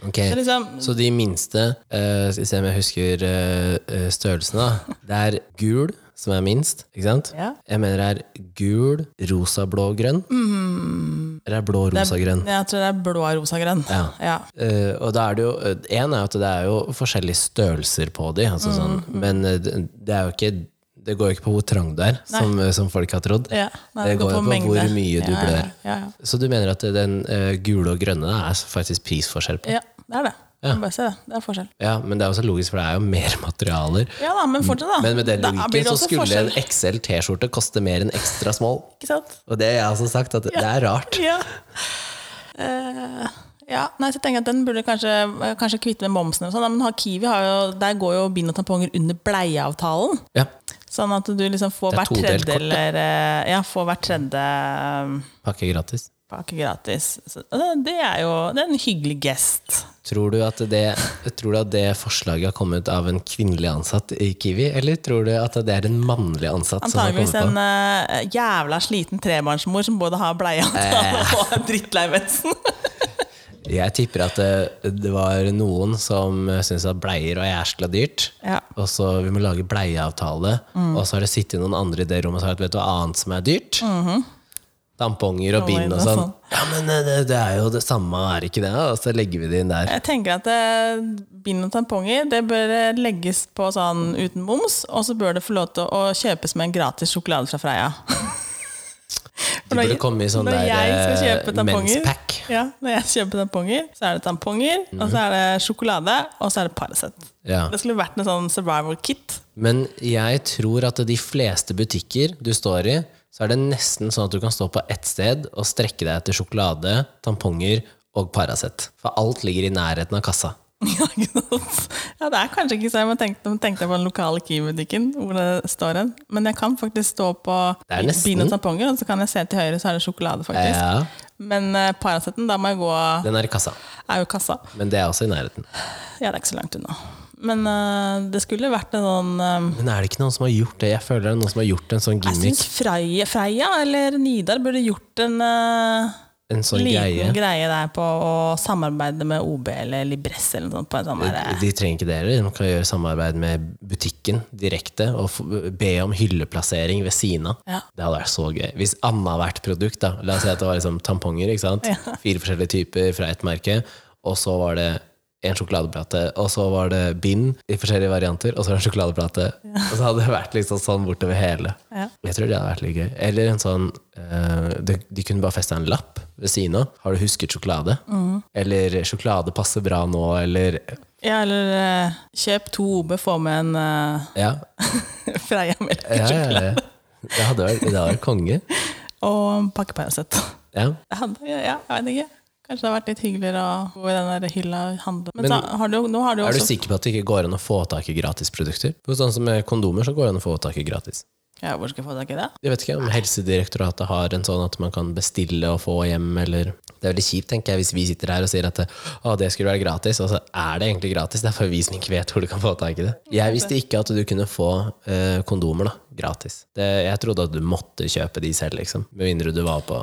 Ok. Så liksom, Så de minste, eh, skal vi se om jeg husker eh, eh, størrelsen da, det er gul som er minst, ikke sant? Ja. Jeg mener det er gul, rosa, blå, grønn. Eller er det blå, rosa, grønn? jeg tror Mm. det er blå, rosa, grønn. Ja. Eh, og da er det jo, en er jo at det er jo forskjellige størrelser på de, Mm, altså sånn, men eh, det det er jo ikke, det går jo ikke på hvor trang du er, som, eh, som folk har trodd. Ja, nei, det, går jo på, mengde. hvor mye du ja, blør. Ja, ja, Så du mener at den eh, gule og grønne da, er faktisk prisforskjell på? ja. ja, det er det. Bare se det. Det er forskjell. Ja, men det er også logisk, for det er jo mer materialer. Ja da, men fortsatt, da. Men med den Da blir logikken det så også skulle forskjell, en XL T-skjorte koste mer enn ekstra small. Ikke sant? Og det har jeg også sagt, at det er rart. Ja. Eh, ja. Nei, så jeg tenker at den burde kanskje, kanskje kvitte med momsen. Og sånn, da, men ha- Kiwi har jo, der går jo bind og tamponger under bleieavtalen. Ja, Sånn at du liksom får Det er hvert todelt tredje kort, det. eller eh, Ja, får hvert tredje eh, Pakke gratis. pakke gratis. Så, og det- det er jo det er en hyggelig gest. Tror du, at det, tror du at det forslaget har kommet av en kvinnelig ansatt i Kiwi, eller tror du at det er en mannlig ansatt som har Antageligvis kommet på en eh, jævla sliten trebarnsmor som både har bleieavtale Eh. og er drittlei mensen. det? Jeg tipper at det, det var noen som syntes at bleier og jæskla dyrt. Ja. Mm. Og så vi må lage bleieavtale, og så har det sittet noen andre i det rommet og sagt vet du hva annet som er dyrt? Tamponger og Tamponger bind og Mhm. og sånn. sånn. Ja, men eh, det, det er jo det samme, er det ikke det? Og så legger vi det inn der. Jeg tenker at eh, bind og tamponger det bør eh, legges på sånn uten moms, og så bør det få lov til å kjøpes med en gratis sjokolade fra Freia. Du burde komme i sånn når der jeg skal eh, kjøpe tamponger- menspack. Mhm. Ja, når jeg kjøper tamponger, så er det tamponger, og så er det sjokolade, og så er det Paracet. Ja. Det skulle vært en sånn survival kit. Men jeg tror at de fleste butikker du står i, så er det nesten sånn at du kan stå på ett sted og strekke deg etter sjokolade, tamponger og Paracet. For alt ligger i nærheten av kassa. Ja, ikke sant? ja, det er kanskje ikke så jeg tenkte, tenkte på den lokale Kiwi-butikken, hvor det står en. Men jeg kan faktisk stå på Det er nesten. bind og tamponger, og så kan jeg se til høyre, så er det sjokolade, faktisk. Ja, Men uh, Paraceten, da må jeg gå den er i kassa. Er jo kassa. Men det er også i nærheten. Ja, det er ikke så langt unna. Men eh, det skulle vært en sånn eh, Men er det ikke noen som har gjort det? Jeg føler det er noen som har gjort en sånn Jeg syns gimmick. Freia, Freia eller Nidar burde gjort en eh, En sånn liten greie. greie. der på å samarbeide med OB eller Libresse eller noe sånt. På en sånn der, De trenger ikke dere. De kan gjøre samarbeid med butikken direkte og få- be om hylleplassering ved siden av. Ja. Det hadde vært så gøy. Hvis annethvert produkt, da La oss si at det var liksom tamponger. ikke sant? Fire forskjellige typer fra ett merke. Og så var det en sjokoladeplate, og så var det bind i forskjellige varianter, og så var det en sjokoladeplate. Og så hadde det vært liksom sånn bortover hele. Ja. Jeg tror det hadde vært litt gøy. Eller en sånn eh, de, de kunne bare festa en lapp ved siden av. Har du husket sjokolade? Eller 'sjokolade passer bra nå', eller ja, eller eh, kjøp to OB, få med en eh, Ja, Freia melk ja, ja, ja. Det hadde vært, det hadde vært konge. og en pakke Paracet. Ja. Det hadde- Ja, ja, jeg vet ikke. Kanskje det hadde vært litt hyggeligere å gå i den der hylla og handle. Men, Men- så har du, jo- nå har du jo Er du også sikker på at det ikke går an å få tak i gratisprodukter? For Sånn som med kondomer så går det an å få tak i gratis. ja, Hvor skal jeg få tak i det? Jeg vet ikke om Helsedirektoratet har en sånn at man kan bestille og få hjem, eller Det er veldig kjipt, tenker jeg, hvis vi sitter her og sier at det, å, det skulle være gratis, og så er det egentlig gratis. Det er bare vi som ikke vet hvor du kan få tak i det. Jeg visste ikke at du kunne få eh, kondomer da, gratis. Det, jeg trodde at du måtte kjøpe de selv, liksom. Med mindre du var på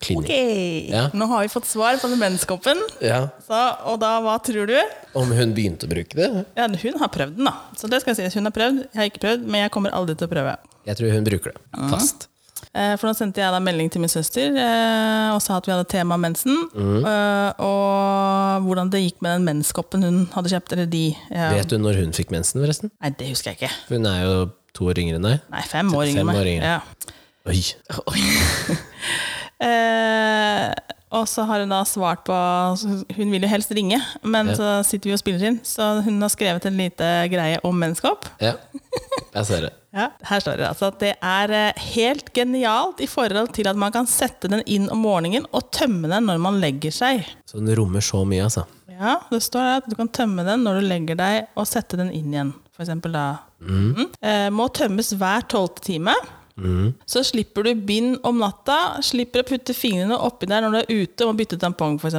klinikk. Ja. Nå har vi fått svar på demenskoppen. Ja. Så, og da, hva tror du? Om hun begynte å bruke det? Ja, hun har prøvd den, da. Så det skal sies. Hun har prøvd. Jeg har ikke prøvd, men jeg kommer aldri til å prøve. Jeg tror hun bruker det. Fast. Eh, For nå sendte jeg da melding til min søster eh, og sa at vi hadde tema mensen. Mhm. eh, Og hvordan det gikk med den menskoppen hun hadde kjøpt, eller de. eh, Vet du når hun fikk mensen, forresten? Nei, det husker jeg ikke. For Hun er jo to år yngre enn deg. Nei, fem år yngre Fem enn år meg. yngre. Ja. Oi. Oi. eh, og så har hun da svart på Hun vil jo helst ringe, men så sitter vi og spiller inn. Så hun har skrevet en lite greie om menneskehopp. Ja, jeg ser det. Ja, her står det altså at det er eh, helt genialt i forhold til at man kan sette den inn om morgenen og tømme den når man legger seg. Så den rommer så mye, altså. Ja, det står her at du kan tømme den når du legger deg, og sette den inn igjen. For eksempel da. Mm. Eh, må tømmes hver tolvte time. Så slipper du bind om natta, slipper å putte fingrene oppi der når du er ute og må bytte tampong f.eks.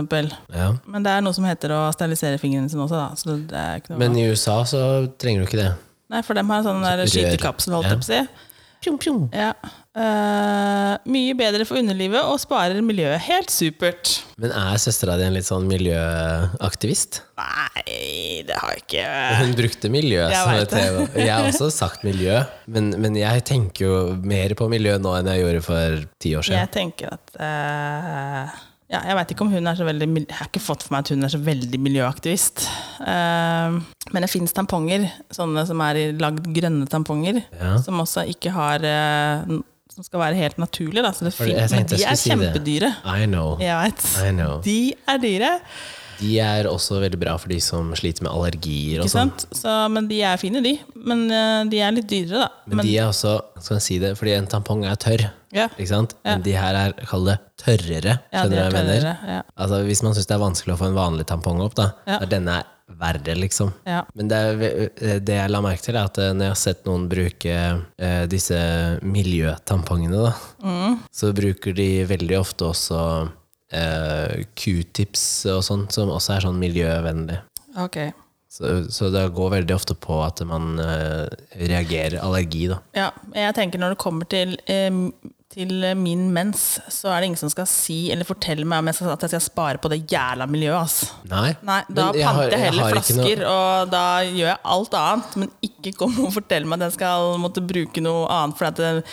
Ja. Men det er noe som heter å sterilisere fingrene sine også, da. Så det er ikke noe Men i USA så trenger du ikke det. Nei, for dem har en sånn der Rør. skytekapsel, holdt jeg på å si. Pjong, pjong. Ja. Eh, mye bedre for underlivet og sparer miljøet. Helt supert. Men er søstera di en litt sånn miljøaktivist? Nei, det har jeg ikke Hun brukte miljø Jeg som vet et tema. Jeg har også sagt miljø, men, men jeg tenker jo mer på miljø nå enn jeg gjorde for ti år siden. Jeg tenker at eh, ja, Jeg veit ikke om hun er så veldig mil- Jeg har ikke fått for meg at hun er så veldig miljøaktivist. Eh, men det fins tamponger, sånne som er i- lagd grønne tamponger, Ja. som også ikke har eh, n- Som skal være helt naturlige, da. Så det For det- fin- jeg men tenkte de jeg skulle er si det. kjempedyre. I know. Jeg veit. I know. De er dyre, De er også veldig bra for de som sliter med allergier og ikke sånn. sant? Så, men de er fine, de. Men eh, de er litt dyrere, da. Men de er også, skal jeg si det, fordi en tampong er tørr, ja. ikke sant? Men de her er, kall det, tørrere. Ja, de Skjønner du hva er jeg mener? tørrere. Ja. Altså, hvis man syns det er vanskelig å få en vanlig tampong opp, da, Ja. er denne verre, liksom. Ja. Men det, er, ve- eh, det jeg la merke til, er at eh, når jeg har sett noen bruke eh, disse miljøtampongene, da, Mm. så bruker de veldig ofte også eh, q-tips og sånn, som også er sånn miljøvennlig. Ok. Så, så det går veldig ofte på at man eh, reagerer allergi, da. Ja, jeg tenker når det kommer til, eh, til min mens, så er det ingen som skal si eller fortelle meg om jeg skal, at jeg skal spare på det jævla miljøet. ass. Nei, Nei, da men jeg har- panter jeg heller har ikke noe- flasker, og da gjør jeg alt annet. Men ikke kom og fortell meg at jeg skal måtte bruke noe annet fordi at jeg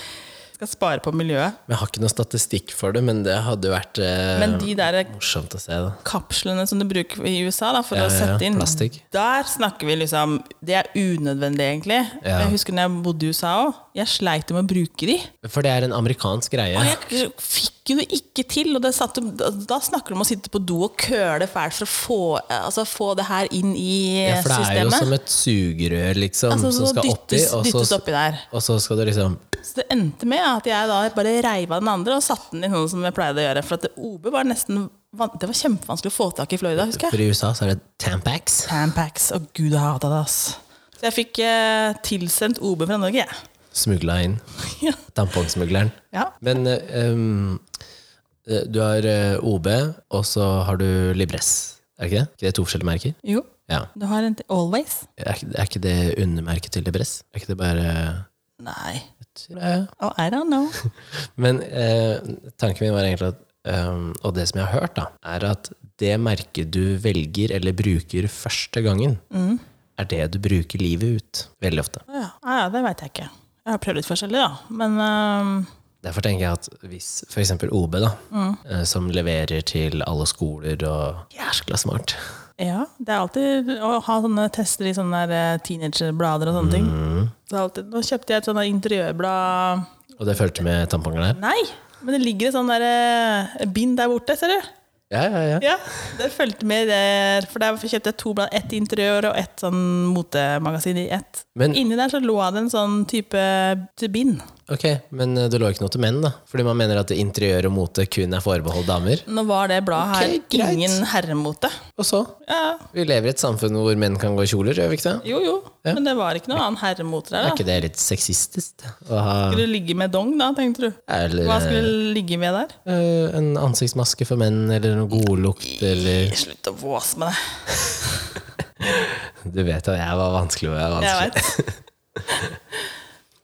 skal spare på miljøet. Jeg har ikke noe statistikk for det, men det hadde jo vært eh, Men de der morsomt å se. da kapslene som du bruker i USA da, for Ja, ja, å ja. sette inn, Plastikk. der snakker vi liksom Det er unødvendig, egentlig. Ja. Jeg husker når jeg bodde i USA òg. Jeg sleit med å bruke de. For det er en amerikansk greie. Og jeg fikk jo det ikke til. Og det satte, da, da snakker du om å sitte på do og køle fælt for å få, eh, altså, få det her inn i Ja, eh, for det er jo systemet. som et sugerør, liksom, altså, som så skal oppi, dyttes, og dyttes så, oppi der. og så skal du liksom Så det endte med at jeg da bare reiv av den andre og satte den i sånn som jeg pleide å gjøre. For at det, OB var nesten van- Det var kjempevanskelig å få tak i i Florida, husker jeg. For i USA så er det Tampax. Tampax. Å, gud, jeg hata det, ass. Så jeg fikk eh, tilsendt OB fra Norge, jeg. Smugla inn. Ja. Tampongsmugleren. Ja. Men eh, um, eh, du har eh, OB, og så har du Libres. Er ikke det? Ikke det to forskjellige merker? Jo, Ja. du har en til Always. Er, ikke- er ikke det undermerket til Libres? Er ikke det bare Nei. tror jeg, Oh, I don't know. Men eh, tanken min var egentlig at ehm, Og det som jeg har hørt, da, er at det merket du velger eller bruker første gangen, er det du bruker livet ut. Veldig ofte. Ja, ja det veit jeg ikke. Jeg har prøvd litt forskjellig, da. Men ehm, øhm, Derfor tenker jeg at hvis f.eks. OB, da, eh, som leverer til alle skoler og Jæskla smart. ja, det er alltid å ha sånne tester i sånne der, eh, teenagerblader og sånne ting. Så det er alltid, nå kjøpte jeg et sånt der intergjørblad Og det fulgte med tamponger der? Nei! Men det ligger et sånt der, eh, bind der borte, ser du. Ja, ja, ja. Ja, Det fulgte med der. For der kjøpte jeg to blad. Ett interiør og ett sånn motemagasin i ett. Men- Inni der så lå det en sånn type til bind. Ok, Men eh, det lå ikke noe til menn, da? Fordi man mener at interiør og mote kun er forbeholdt damer? Nå var det bladet her Ok, greit. ingen herremote. Og så? Ja, Vi lever i et samfunn hvor menn kan gå i kjoler, gjør vi ikke det? Jo, jo, men det var ikke noe annen Er herremoter der. da. ikke det litt sexistisk? Å ha Skulle du ligge med dong, da, tenkte du? eller, Hva skulle du ligge med der? eh, en ansiktsmaske for menn, eller noe godlukt, eller Slutt å våse med det. Du vet at jeg var vanskelig. Jeg var vanskelig. Jeg veit.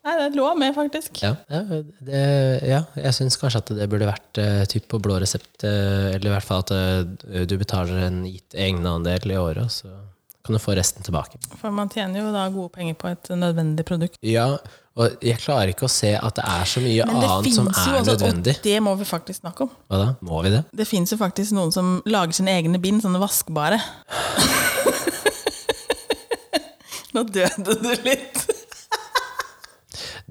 Nei, det lå med, faktisk. Ja, ja, det, ja, jeg syns kanskje at det burde vært eh, typ på blå resept, eh, eller i hvert fall at eh, du betaler en gitt egenandel i året, og så kan du få resten tilbake. For man tjener jo da gode penger på et nødvendig produkt. Ja, og jeg klarer ikke å se at det er så mye Men det annet finnes som jo er også- nødvendig. Og det må vi faktisk snakke om. Hva da? Må vi det? Det fins jo faktisk noen som lager sine egne bind, sånne vaskbare. Nå døde du litt.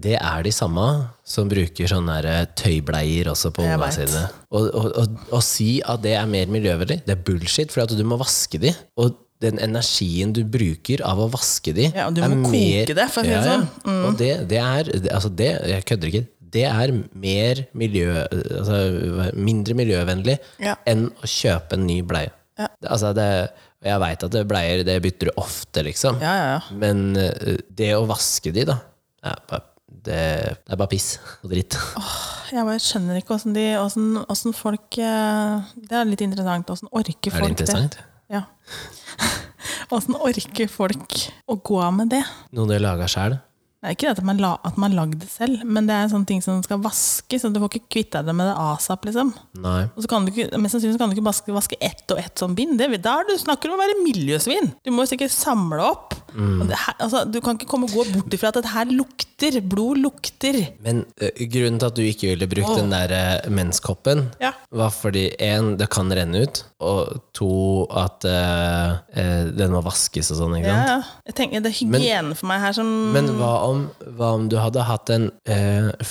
Det er de samme som bruker sånne der tøybleier også på Jeg ungene vet. sine. Og, og, og, å si at det er mer miljøvennlig, det er bullshit, for at du må vaske de. Og den energien du bruker av å vaske de, Ja, og du må koke det, for å si det sånn. Og det, det er det- Altså, det Jeg kødder ikke. Det er mer miljø, altså, mindre miljøvennlig Ja. enn å kjøpe en ny bleie. Ja. Det- Altså, det, og jeg veit at det bleier det bytter du ofte, liksom. Ja, ja, ja. Men eh, det å vaske de, da ja, bare- det, det er bare piss og dritt. Jeg bare skjønner ikke åssen de åssen- åssen folk eh, Det er litt interessant. Åssen Er orker det folk interessant? Ja. Åssen orker folk å gå av med det? Noe du har laga sjæl? Det er ikke det at man, la, at man lagde det selv, men det er sånne ting som skal vaskes. og Du får ikke kvitta deg med det asap, liksom. Nei. Og så kan du ikke, mest sannsynlig så kan du ikke vaske, vaske ett og ett sånn bind. Det, vil- da er du, snakker du om å være miljøsvin. Du må jo sikkert samle opp. Mm. Og det her, altså, du kan ikke komme og gå bort ifra at det her lukter. Blod lukter. Men ø, grunnen til at du ikke ville brukt den der ø, menskoppen, Ja. var fordi én, det kan renne ut, og to, at ø, ø, den må vaskes og sånn. ikke Ja, sant? ja. Jeg tenker, det er hygiene for meg her som Men hva om, hva om du hadde hatt en ø,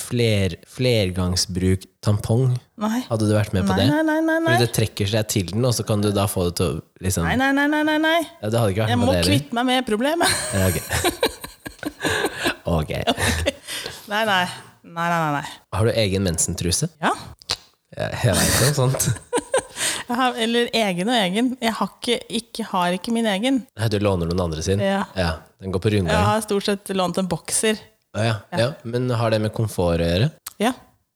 fler, flergangsbruk tampong? Nei. Hadde du vært med på Nei, det? nei, nei, nei, nei. Fordi det trekker seg til den, og så kan du da få det til å liksom Nei, nei, nei, nei, nei, nei. Ja, Det hadde ikke vært Jeg med må på det heller. kvitte meg med problemet. Ja, ok. ok. Nei, nei. Nei, nei, nei. nei. Har du egen mensentruse? Ja. Jeg, jeg vet ikke om sånt. Jeg har, eller egen og egen. Jeg har ikke, ikke, har ikke min egen. Nei, Du låner noen andre sin? Ja. Den går på rundgang? Jeg har stort sett lånt en bokser. Å ja, ja. Men har det med komfort å gjøre? Ja.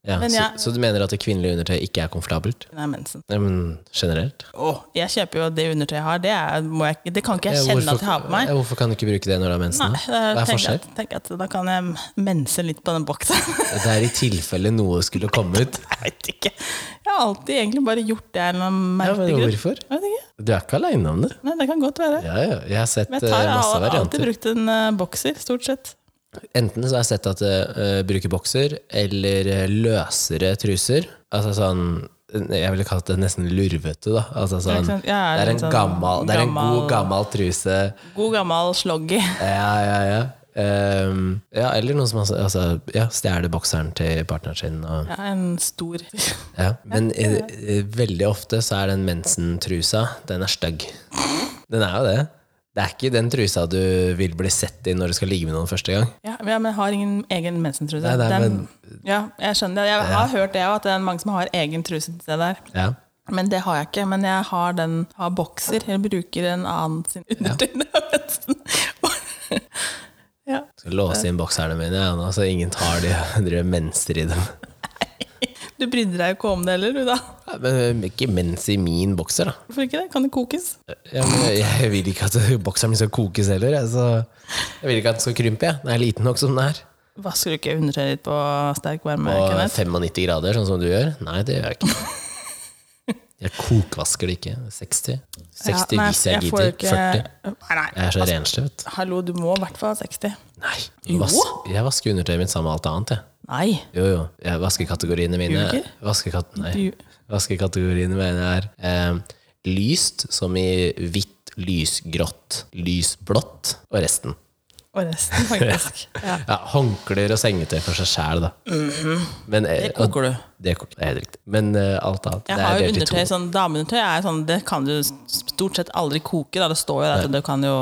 Ja, Men jeg- så, så du mener at det kvinnelige undertøyet ikke er komfortabelt? Nei, mensen. Nei, men generelt? Åh, jeg kjøper jo det undertøyet jeg har. Det, er, må jeg, ikke- det kan ikke jeg Ja, kjenne at jeg har på meg. ja, hvorfor kan du ikke bruke det når du har mensen? Nei, da? Hva da er tenker jeg, forskjellen? at- tenker jeg at da kan jeg mense litt på den boksen. Det er i tilfelle noe skulle komme ut. Jeg vet ikke. Jeg har alltid egentlig bare gjort det av en eller annen Ja, merkelig men grunn. hvorfor? Jeg vet ikke. Du er ikke aleine om det. Nei, det kan godt være. Ja, ja. Jeg har sett Men eh, jeg, tar, jeg masse har alltid varianter. brukt en eh, bokser, stort sett. Enten så har jeg sett at det eh, bruker bokser, eller eh, løsere truser. Altså sånn Jeg ville kalt det nesten lurvete, da. Altså Ja, sånn, ikke sant? Ja, det er en litt sånn gammel, det er en god, gammel- gammel truse. God gammel sloggy. Ja, ja, ja. Ehm, ja, eller noen som altså, altså, ja, stjeler bokseren til partneren sin. Og, Ja, en stor ja. Men eh, eh, veldig ofte så er den mensentrusa, den er stygg. Den er jo det. Det er ikke den trusa du vil bli sett i når du skal ligge med noen første gang. Ja, men jeg har ingen egen mensentruse. Nei, nei, Den- ja, jeg skjønner det. Jeg har hørt det også, at det er mange som har egen truse til det der. Ja. Men det har jeg ikke. Men jeg har den har bokser. Jeg bruker en annen sin undertøy. når jeg har mensen. ja. Skal låse inn bokserne mine, ja, nå, så ingen tar de og driver menser i dem. Du brydde deg jo ikke om det heller, du da. Ja, men eh, ikke mens i min bokser, da. Hvorfor ikke det? Kan det kokes? Ja, men jeg- jeg vil ikke at bokseren min skal kokes heller. Jeg, så jeg vil ikke at den skal krympe. Jeg. Den er liten nok som den er. Vasker du ikke undertøyet ditt på sterk varme? Og Kenneth? 95 grader, sånn som du gjør? Nei, det gjør jeg ikke. Jeg kokvasker det ikke. 60. 60 Ja, nei, hvis jeg, jeg får gidder. ikke- 40. Nei, nei. Jeg er så renslig, vet du. Hallo, du må i hvert fall ha 60. Nei. Jo. Vask, jeg vasker undertøyet mitt sammen med alt annet, jeg. Nei. Jo, jo. Jeg vasker kategoriene mine. Gjør du ikke? Vasker kat nei. Du- Vasker kategoriene mine er eh, lyst, som i hvitt, lysgrått, lysblått, og resten. Og resten, faktisk. ja. Mhm. Ja, Håndklær og sengetøy for seg sjæl, da. Men, eh, Det koker du. Det er, kort, det er helt riktig. Men eh, alt annet Jeg det er har jo delt i to. undertøy, sånn dameundertøy er sånn, det kan du stort sett aldri koke. Da. Det står jo der, så du kan jo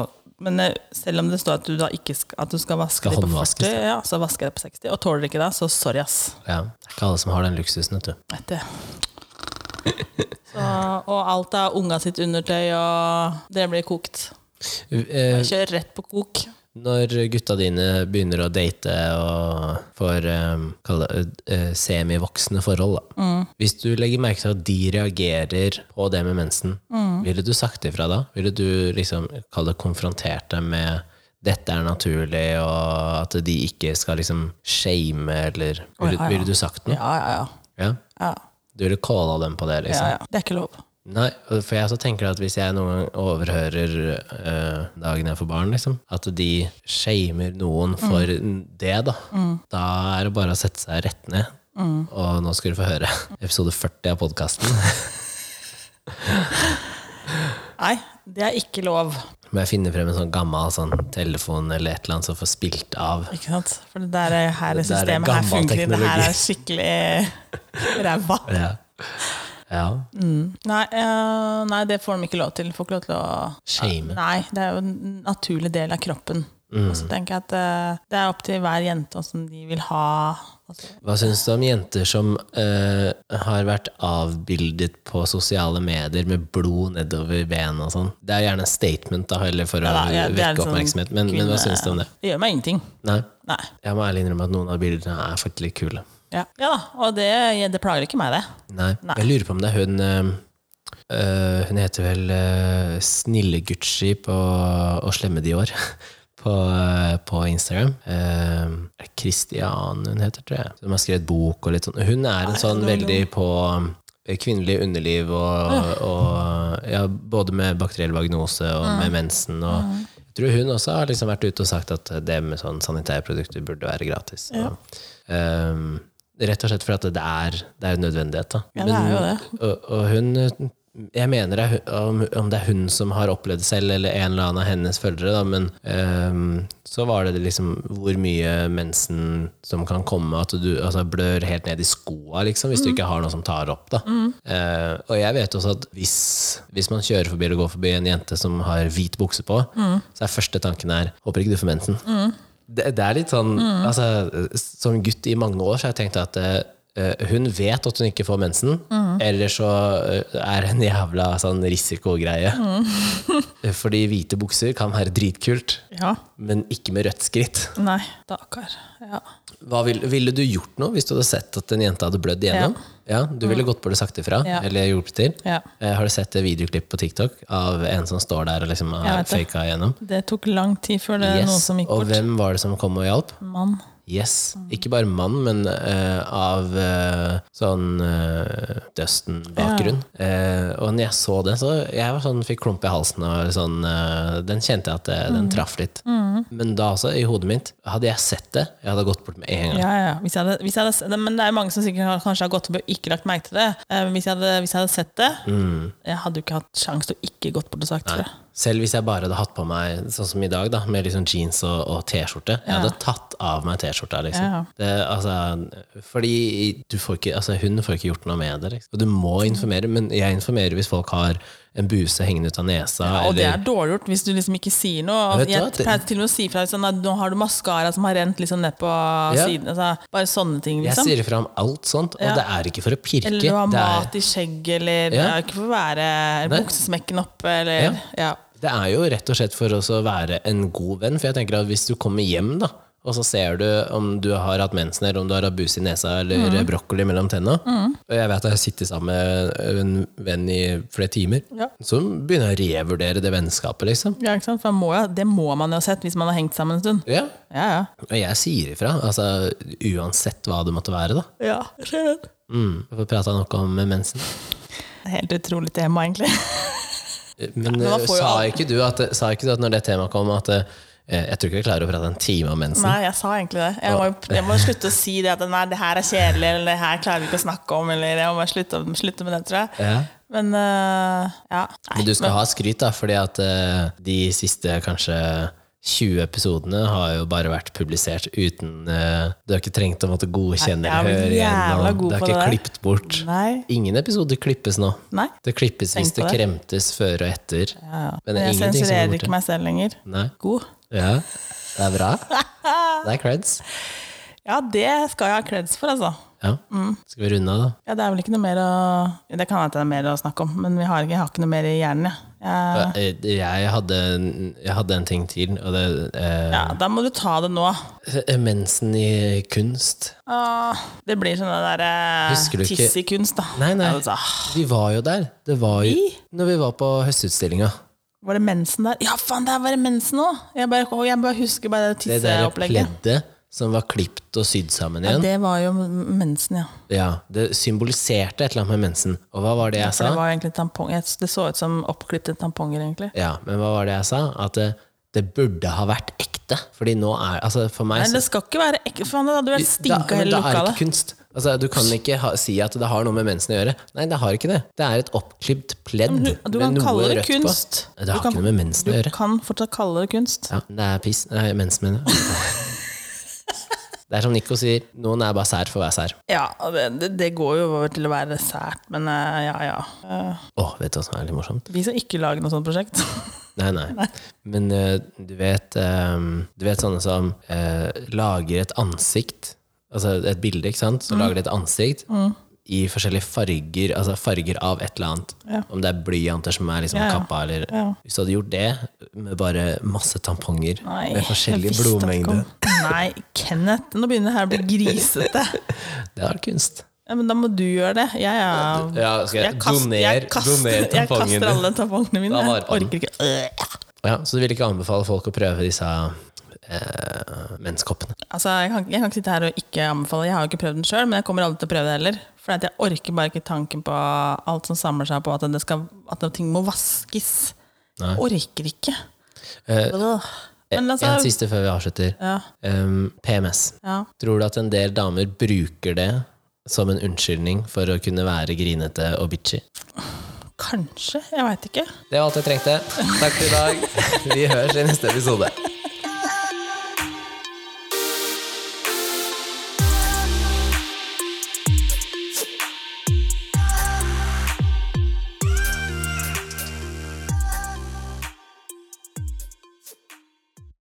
Men eh, selv om det står at du da ikke skal, at du skal vaske Skal det på håndvaskes, 40, ja, så vasker jeg det på 60. Og tåler det ikke da, så sorry, ass. Ja, det er ikke alle som har den luksusen, vet du. Vet du. Så, og alt av unga sitt undertøy, og det blir kokt. Eh, Kjør rett på kok. Når gutta dine begynner å date og får eh, kall det, eh, semivoksne forhold, da. Mm. hvis du legger merke til at de reagerer på det med mensen, Mm. ville du sagt ifra da? Ville du liksom, kall det, konfrontert dem med dette er naturlig, og at de ikke skal liksom shame, eller Å, ja, Ville, ja. ville du sagt Ja, noe? ja, ja. Ja. ja, Du ville calla dem på det, liksom? ja, ja. Det er ikke lov. Nei, for jeg så tenker at hvis jeg noen gang overhører eh, dagen jeg får barn, liksom, at de shamer noen for det, da, da er det bare å sette seg rett ned. Og nå skal du få høre episode 40 av podkasten. Nei, det er ikke lov. Må jeg finne frem en sånn gammel sånn, telefon eller et eller annet som får spilt av. Ikke sant? For det der er her Det der er systemet her gammel funker. ikke. Det her teknologi. er skikkelig ræva. Ja. ja. Nei, eh, nei, det får de ikke lov til. Får ikke lov til å Shame. Mm. Nei, det er jo en naturlig del av kroppen. Og så tenker jeg at eh, det er opp til hver jente hvordan de vil ha altså, Hva syns du om jenter som eh, har vært avbildet på sosiale medier med blod nedover bena og sånn? Det er gjerne en statement da, eller for å ja, det er vekke liksom oppmerksomhet, men, men hva kvinne- syns du om det? Det gjør meg ingenting. Nei. Nei. Jeg må ærlig innrømme at noen av bildene er faktisk litt kule. Ja, ja da, og det, det plager ikke meg, det. Nei. Nei. Jeg lurer på om det er hun eh, eh, Hun heter vel eh, Snille-Gucci på, og Slemme-Dior på, eh, på Instagram. Uh, Christiane hun heter, tror jeg. Som har skrevet bok og litt sånn. Hun er en sånn veldig på eh, kvinnelig underliv og, og ja, Både med bakteriell vagnose og med mensen. og jeg tror hun også har liksom vært ute og sagt at det med sånn sanitærprodukter burde være gratis. Så, ehm, rett og slett fordi at det er, det er en nødvendighet. Da. Ja, det er jo det. Og, og hun jeg mener det er, hun- om, om det er hun som har opplevd det selv, eller en eller annen av hennes følgere, da, men ehm, så var det liksom hvor mye mensen som kan komme, at du altså, blør helt ned i skoa liksom, hvis du ikke har noe som tar opp. Da. Eh, og jeg vet også at hvis, hvis man kjører forbi eller går forbi en jente som har hvit bukse på, så er første tanken er, håper ikke du får mensen. Det, det er litt sånn, Mm. altså, som gutt i mange år så har jeg tenkt at eh, hun vet at hun ikke får mensen, Mm. eller så eh, er det en jævla sånn risikogreie. Mm. Fordi hvite bukser kan være dritkult, Ja. men ikke med rødt skritt. Nei, daker. Ja. Hva vil, ville du gjort noe hvis du hadde sett at en jente hadde blødd igjennom? Ja, Du ville gått bort og sagt ifra? Mm. Ja. Eller hjulpet til? Ja. Eh, har du sett et videoklipp på TikTok av en som står der og liksom Jeg har vet det. faka igjennom? Det tok lang tid før det er noen Yes. som gikk Og bort. hvem var det som kom og hjalp? Mann. Yes. Ikke bare mann, men eh, av eh, sånn uh, Dustin-bakgrunn. Eh, og når jeg så det, så jeg var sånn, fikk klump i halsen. Og sånn, eh, den kjente jeg at det, den traff litt. Men da også, i hodet mitt, hadde jeg sett det, jeg hadde gått bort med en gang. Ja, ja. Hvis jeg hadde, hvis jeg hadde, det- men det er jo mange som sikkert har, kanskje har gått opp og ikke lagt merke til det. Eh, Hvis jeg hadde, hvis jeg hadde sett det, Mm. jeg hadde jo ikke hatt sjanse til å ikke gått bort og sagt det. Selv hvis jeg bare hadde hatt på meg sånn som i dag, da, med liksom jeans og, og T-skjorte. Jeg hadde tatt av meg T-skjorta, liksom. Ja. Det, altså, fordi du får ikke, altså, hun får ikke gjort noe med det. Liksom. Og du må informere, men jeg informerer hvis folk har en buse hengende ut av nesa. Og det eller, er dårlig gjort hvis du liksom ikke sier noe. Jeg Og vet jeg hva, det- pleier til og med å si fra sånn, at nå har du maskara som har rent liksom ned på Ja. siden. Altså, bare sånne ting, jeg liksom. sier ifra om alt sånt, og Ja. det er ikke for å pirke. Eller du har det er, mat i skjegget, eller Ja. det er ikke for å være Nei. buksesmekken oppe, eller Ja. ja. Det er jo rett og slett for oss å være en god venn, for jeg tenker at hvis du kommer hjem da, og så ser du om du har hatt mensen, eller om du har hatt bus i nesa, eller Mm. brokkoli mellom tenna, og jeg vet at jeg sitter sammen med en venn i flere timer, Ja. så begynner jeg å revurdere det vennskapet, liksom. Ja, ikke sant? For man må, jo- det må man jo ha sett hvis man har hengt sammen en stund. Ja, Ja, ja. og jeg sier ifra, altså uansett hva det måtte være da. ja skjønner. Mm. Hvorfor prater jeg nok om mensen? Helt utrolig tema, egentlig. Men men man eh, får jo sa alt. ikke, du at, sa ikke du at når det temaet kom, at eh, jeg tror ikke jeg klarer å prate en time om mensen? Nei, jeg sa egentlig det. Jeg må, jo- jeg må slutte å si det at nei, det her er kjedelig, eller det her klarer vi ikke å snakke om, eller jeg må bare slutte, slutte med det, tror jeg. Ja. Men øh, ja. Nei, Men du skal ha skryt, da, fordi at eh, de siste kanskje 20 episodene har jo bare vært publisert uten eh, Du har ikke trengt å måtte godkjenne Nei, jeg er eller vel høre jævla igjennom. god Det på er ikke det klippet bort. Nei. Ingen episoder klippes nå. Nei. Det klippes hvis Tenk det på det. kremtes før og etter. Ja. Men det er jeg ingenting som er sensurerer borte. ikke meg selv lenger. Nei. God. Ja, det er bra. Det er creds. Ja, det skal jeg ha creds for, altså. Ja. Skal vi runde av, da? Ja, det er vel ikke noe mer å Det kan hende at det er mer å snakke om, men vi har ikke, jeg har ikke noe mer i hjernen, jeg. jeg. Eh, Jeg hadde, en- jeg hadde en ting til, og det eh, Ja, da må du ta det nå. Mensen i kunst. Åh, det blir sånn det Husker du derre ikke- tiss i kunst, da. Nei, nei. Altså, Vi var jo der. Det var jo Vi? når vi var på høstutstillinga. var det mensen der? Ja, faen, der var det mensen òg! Jeg, bare- åh, jeg bare husker bare det Det der tisseopplegget. pleddet som var klipt og sydd sammen Ja, igjen. det var jo mensen, ja. Ja, det symboliserte et eller annet med mensen. Og hva var det jeg For det sa? var egentlig tampong. jeg- Det så ut som oppklipte tamponger, egentlig. Ja, men hva var det jeg sa? At det, det burde ha vært ekte. Fordi nå er altså For meg Men det skal ikke være ekkelt, faen, det hadde vel Da- stinka men hele da er det lokalet. ikke kunst. Altså, du kan ikke ha, si at det har noe med mensen å gjøre. Nei, det har ikke det. Det er et oppklipt pledd Du du kan med noe kalle det rødt kunst. på. Det har Du kan- ikke noe med mensen å Du gjøre. kan fortsatt kalle det kunst. Ja, det er piss. Nei, mensen, mener jeg. Det er som Nico sier, noen er bare sær for å være sær. Ja, og det, det- det går jo over til å være sært, men eh, ja ja. Eh, Å, vet du hva som er litt morsomt? Vi skal ikke lage noe sånt prosjekt. Nei, nei. Men eh, du vet eh, Du vet sånne som eh, lager et ansikt, altså et bilde, ikke sant? Mm. Så lager de et ansikt i forskjellige farger, altså farger av et eller annet. Om det er blyanter som er liksom Ja, ja. kappa, eller Ja. Hvis du hadde gjort det med bare masse tamponger Nei, med jeg forskjellig visste at det blodmengde kom. Nei, Kenneth, nå begynner det her å bli grisete. Det er kunst. Ja, men da må du gjøre det. Jeg, er- Ja, skal jeg- kast- doner- jeg kaster, doner jeg tampongene. kaster alle tampongene mine. Da var Jeg orker ikke. Øh. Ja, så du vil ikke anbefale folk å prøve disse eh, menskoppene? Altså, jeg, kan, jeg kan ikke sitte her og ikke anbefale. Jeg har jo ikke prøvd den sjøl, men jeg kommer aldri til å prøve det heller. For at jeg orker bare ikke tanken på alt som samler seg på at, det skal, at ting må vaskes. Nei. Jeg orker ikke. Eh, Øh. Men altså, en siste før vi avslutter. ja, Em, PMS. ja. Tror du at en del damer bruker det som en unnskyldning for å kunne være grinete og bitchy? Kanskje. Jeg veit ikke. Det var alt jeg trengte. Takk for i dag. Vi høres i neste episode.